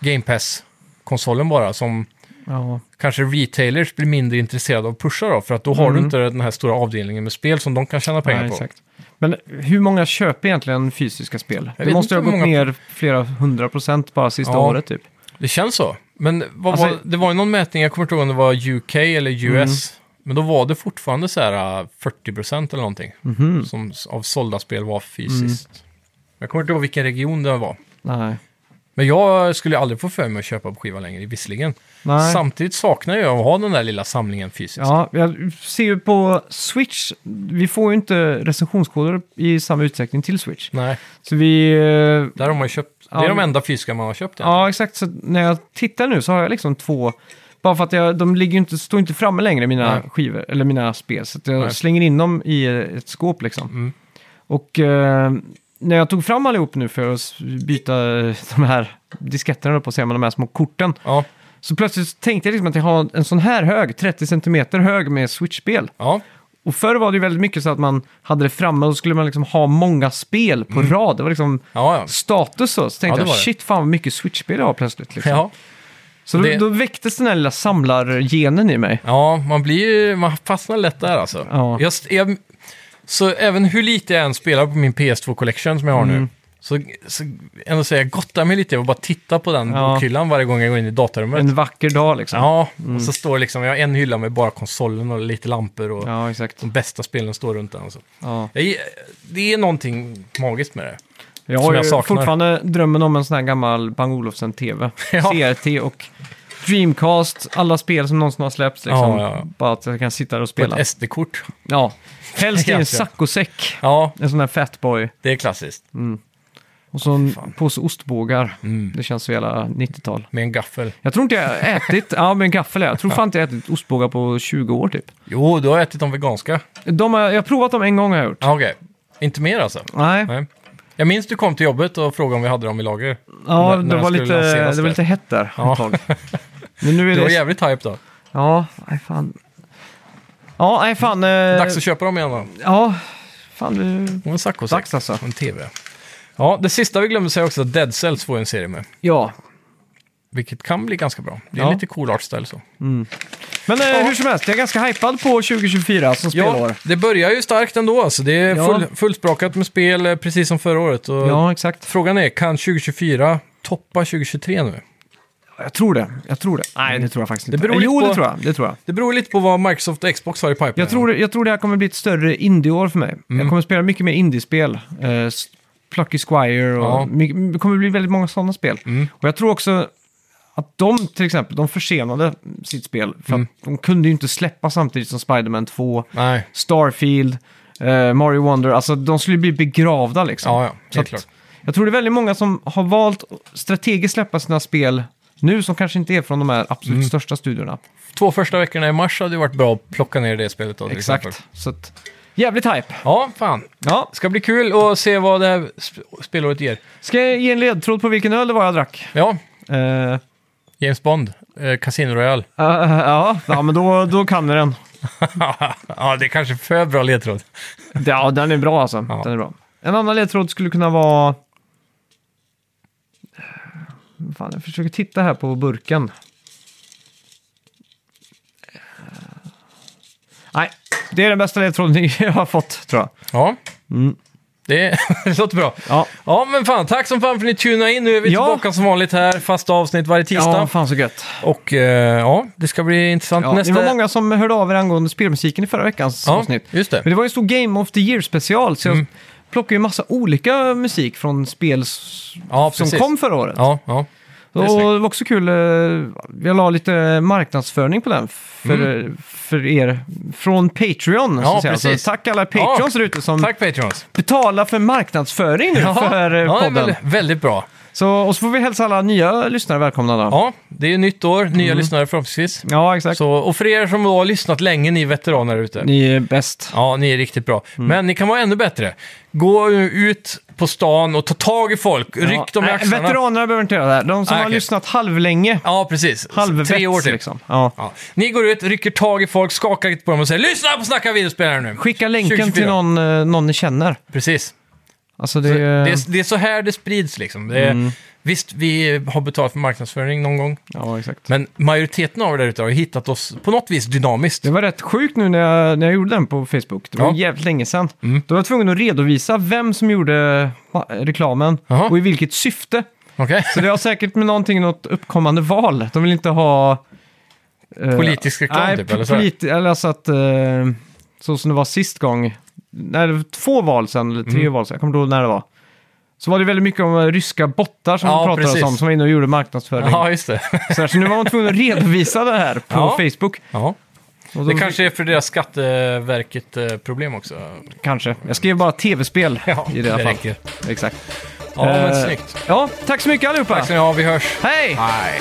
B: Game Pass-konsolen bara, som
A: Ja.
B: kanske retailers blir mindre intresserade av att pusha då, för att då har du inte den här stora avdelningen med spel som de kan tjäna pengar
A: Mm. Nej,
B: på.
A: exakt. Men hur många köper egentligen fysiska spel?
B: Jag
A: det
B: vet
A: måste ju
B: inte
A: ha gått
B: hur många-
A: ner flera hundra procent bara sista
B: Ja.
A: året typ.
B: Det känns så. Men vad
A: Alltså-
B: var, det var ju någon mätning, jag kommer inte ihåg om det var UK eller US.
A: Mm.
B: Men då var det fortfarande så här äh, 40% eller någonting.
A: Mhm. Mm.
B: Som s- av sålda spel var fysiskt. Jag kommer inte ihåg vilken region det var.
A: Nej.
B: Men jag skulle aldrig få för mig att köpa på skiva längre, visserligen.
A: Nej.
B: Samtidigt saknar jag att ha den där lilla samlingen fysiskt.
A: Ja, jag ser ju på Switch, vi får ju inte recensionskoder i samma utsträckning till Switch.
B: Nej,
A: Så vi... eh,
B: där har man ju köpt. Det är
A: Ja,
B: de
A: men-
B: enda fysiska man har köpt. egentligen.
A: Ja, exakt. Så när jag tittar nu så har jag liksom två... Bara för att jag, de ligger ju inte, står inte framme längre, mina
B: Nej.
A: skivor, eller mina spel. Så att jag
B: Nej.
A: slänger in dem i eh, ett skåp liksom.
B: Mm.
A: Och eh, när jag tog fram allihop nu för att s- byta eh, de här disketterna, höll på att säga, men de här små korten.
B: Ja,
A: Så plötsligt så tänkte jag liksom att jag har en sån här hög, 30 cm hög med Switch-spel.
B: ja,
A: Och förr var det ju väldigt mycket så att man hade det framme och så skulle man liksom ha många spel på rad. Det var liksom
B: ja. ja.
A: status så. Så
B: Mm. Ja, det
A: tänkte
B: var
A: jag,
B: det.
A: shit fan vad mycket Switch-spel jag har plötsligt. Liksom.
B: ja.
A: Så då,
B: Det-
A: då väcktes den här lilla samlargenen i mig.
B: Ja, man blir ju- man fastnar lätt där alltså.
A: Ja.
B: Jag, st- jag, så även hur lite jag än spelar på min PS2 Collection som jag har
A: Mm.
B: nu, så, så ändå säger jag gottar mig lite och bara titta på den
A: Ja.
B: bokhyllan varje gång jag går in i datarummet.
A: En vacker dag liksom.
B: Ja, och så står liksom, jag har en hylla med bara konsolen och lite lampor och
A: Ja, exakt.
B: de bästa spelen står runt den. Alltså.
A: Ja.
B: Jag, ge- det är någonting magiskt med det.
A: Jag
B: Som
A: har
B: jag
A: ju
B: saknar.
A: fortfarande drömmen om en sån här gammal Bang Olufsen-TV.
B: (laughs) Ja.
A: CRT och Dreamcast, alla spel som någonsin har släppts. Liksom.
B: Ja, ja, ja.
A: Bara att jag kan sitta där och
B: På
A: spela.
B: ett SD-kort. (laughs)
A: Ja. Helst i en
B: Egentligen.
A: saccosäck.
B: Ja,
A: En sån här Fatboy.
B: det är klassiskt.
A: Och så en påse ostbågar.
B: Mm.
A: Det känns så jävla 90-tal.
B: Med en gaffel.
A: Jag tror inte jag har ätit, (laughs) ja men gaffel är jag. jag tror fan inte jag har ätit ostbågar på 20 år typ.
B: Jo, du har ätit de veganska.
A: De har, jag har provat dem en gång har jag gjort.
B: Ja, Okej, inte mer alltså?
A: Nej,
B: Nej. Jag minns du kom till jobbet och frågade om vi hade dem i lager.
A: ja,
B: när- när
A: det,
B: de
A: var
B: skulle
A: lite,
B: lanseras
A: det var
B: där.
A: lite hett där
B: Ja.
A: ett tag. Men
B: (laughs)
A: nu är
B: Du
A: det...
B: var jävligt hype då.
A: Ja, nej fan. Ja, nej fan. Eh,
B: Dags att köpa dem igen då.
A: Ja, fan du...
B: Och en saccosäck.
A: Dags alltså.
B: Och en tv. Ja, det sista vi glömde säga också, att Dead Cells får en serie med.
A: Ja.
B: Vilket kan bli ganska bra. Det är
A: Ja.
B: lite cool art style så.
A: Men eh, hur som helst, jag är ganska hypad på 2024 som spelår.
B: Ja, det börjar ju starkt ändå. Alltså. Det är
A: Ja.
B: full, fullsprakat med spel, eh, precis som förra året. Och
A: ja, exakt.
B: Frågan är, kan 2024 toppa 2023 nu?
A: Jag tror det. Jag tror det. Nej, det tror jag faktiskt
B: Mm. Det
A: inte.
B: beror lite
A: jo,
B: på-
A: det tror jag. Det tror jag.
B: Det beror lite på vad Microsoft och Xbox har i pipeline.
A: Jag tror, jag tror det här kommer bli ett större indieår för mig. Jag kommer spela mycket mer indiespel. Eh, s- Plucky Squire och
B: Ja.
A: my- det kommer bli väldigt många sådana spel. Och jag tror också att de till exempel, de försenade sitt spel. För att de kunde ju inte släppa samtidigt som Spider-Man 2,
B: Nej, Starfield.
A: eh, Mario Wonder. Alltså de skulle bli begravda liksom.
B: Ja, ja, helt
A: Så att
B: klart.
A: Jag tror det är väldigt många som har valt att strategiskt släppa sina spel nu som kanske inte är från de här absolut största studiorna.
B: Två första veckorna i mars hade ju varit bra att plocka ner det spelet då, till exempel.
A: Exakt. Så att, jävligt hype.
B: Ja, fan.
A: Ja,
B: Ska bli kul att se vad det här sp- spelåret ger.
A: Ska jag ge en ledtråd på vilken öl det var jag drack?
B: Ja,
A: Eh, eh, (laughs)
B: James Bond, eh, Casino Royale. (laughs)
A: ja, ja, men då, då kan vi den.
B: ja, det är kanske för bra ledtråd.
A: Ja, den är bra alltså.
B: Ja.
A: Den är bra. En annan ledtråd skulle kunna vara... Fan, jag försöker titta här på burken. Eh, Nej, det är den bästa ledtråden jag (laughs) har fått, tror jag.
B: Ja.
A: Mm.
B: Det, (laughs) det låter bra.
A: Ja,
B: Ja, men fan, tack som fan för att ni tunade in. Nu är vi
A: Ja.
B: tillbaka som vanligt här, fasta avsnitt varje tisdag.
A: ja fan så gött.
B: Och eh, ja, det ska bli intressant
A: Ja,
B: nästa...
A: Det var många som hörde av er angående spelmusiken i förra veckans
B: ja,
A: avsnitt.
B: just det.
A: Men det var ju en stor Game of the Year-special, så jag
B: Mm.
A: plockade ju massa olika musik från spel s-
B: Ja,
A: som
B: precis.
A: kom förra året.
B: Ja, ja. det är
A: och
B: snyggt.
A: det var också kul, eh, jag la lite marknadsföring på den för, för er från Patreon. så
B: Mm. Ja,
A: att säga. Så
B: precis.
A: tack alla Patreons där ute som
B: Tack Patreons.
A: betalar för marknadsföring nu för eh,
B: ja, det är
A: podden.
B: väldigt, väldigt bra.
A: Så, och så får vi hälsa alla nya lyssnare välkomna då.
B: Ja, det är ju nytt år, nya
A: Mm.
B: lyssnare förhoppningsvis.
A: Ja, exakt.
B: Så, och för er som då har lyssnat länge, ni är veteraner där ute.
A: Ni Mm. är bäst.
B: Ja, ni är riktigt bra. Men ni kan vara ännu bättre. Gå ut på stan och ta tag i folk, ryck dem i
A: nej,
B: axlarna.
A: Veteranerna behöver inte göra det här. De som
B: Nej,
A: har
B: okej.
A: lyssnat halvlänge,
B: Ja, precis.
A: halvvett
B: Tre år till.
A: liksom. Ja.
B: Ja. Ni går ut, rycker tag i folk, skakar lite på dem och säger “Lyssna på Snacka videospel här nu!”
A: Skicka länken
B: 2024.
A: till någon, eh, någon ni känner.
B: Precis.
A: Alltså det,
B: Det,
A: är- mm.
B: är, det är så här det sprids liksom. Det är, Visst, vi har betalat för marknadsföring någon gång,
A: Ja, exakt.
B: men majoriteten av er där ute har ju hittat oss på något vis dynamiskt.
A: Det var rätt sjukt nu när jag, när jag gjorde den på Facebook. Det var
B: Ja. Mm.
A: jävligt länge sedan. Då var jag tvungen att redovisa vem som gjorde ma- reklamen
B: Jaha.
A: och i vilket syfte.
B: Okej?
A: (laughs) Så det har säkert med någonting, något uppkommande val. De vill inte ha... eh,
B: Politisk reklam
A: nej,
B: typ,
A: po-
B: eller så här.
A: politi- eller alltså att... eh, så som det var sist gång. Nej, det var två val sedan, eller tre
B: Mm.
A: val sedan. Jag kommer inte ihåg när det var. Så var det väldigt mycket om eh, ryska bottar som
B: Ja,
A: det pratades
B: precis.
A: om, som var inne och gjorde marknadsföring.
B: Ja, just det. (laughs)
A: Så, här, så nu var man tvungen att redovisa det här på
B: Ja.
A: Facebook.
B: Ja.
A: Och då,
B: Det kanske är för deras Skatteverket-problem också.
A: kanske. Jag skrev bara tv-spel
B: Ja,
A: i det här
B: det
A: fallet.
B: räcker.
A: Exakt.
B: Ja, men
A: Eh,
B: snyggt.
A: Ja, tack så mycket allihopa.
B: Tack ska ni ha, vi hörs.
A: Hej!
B: Hej.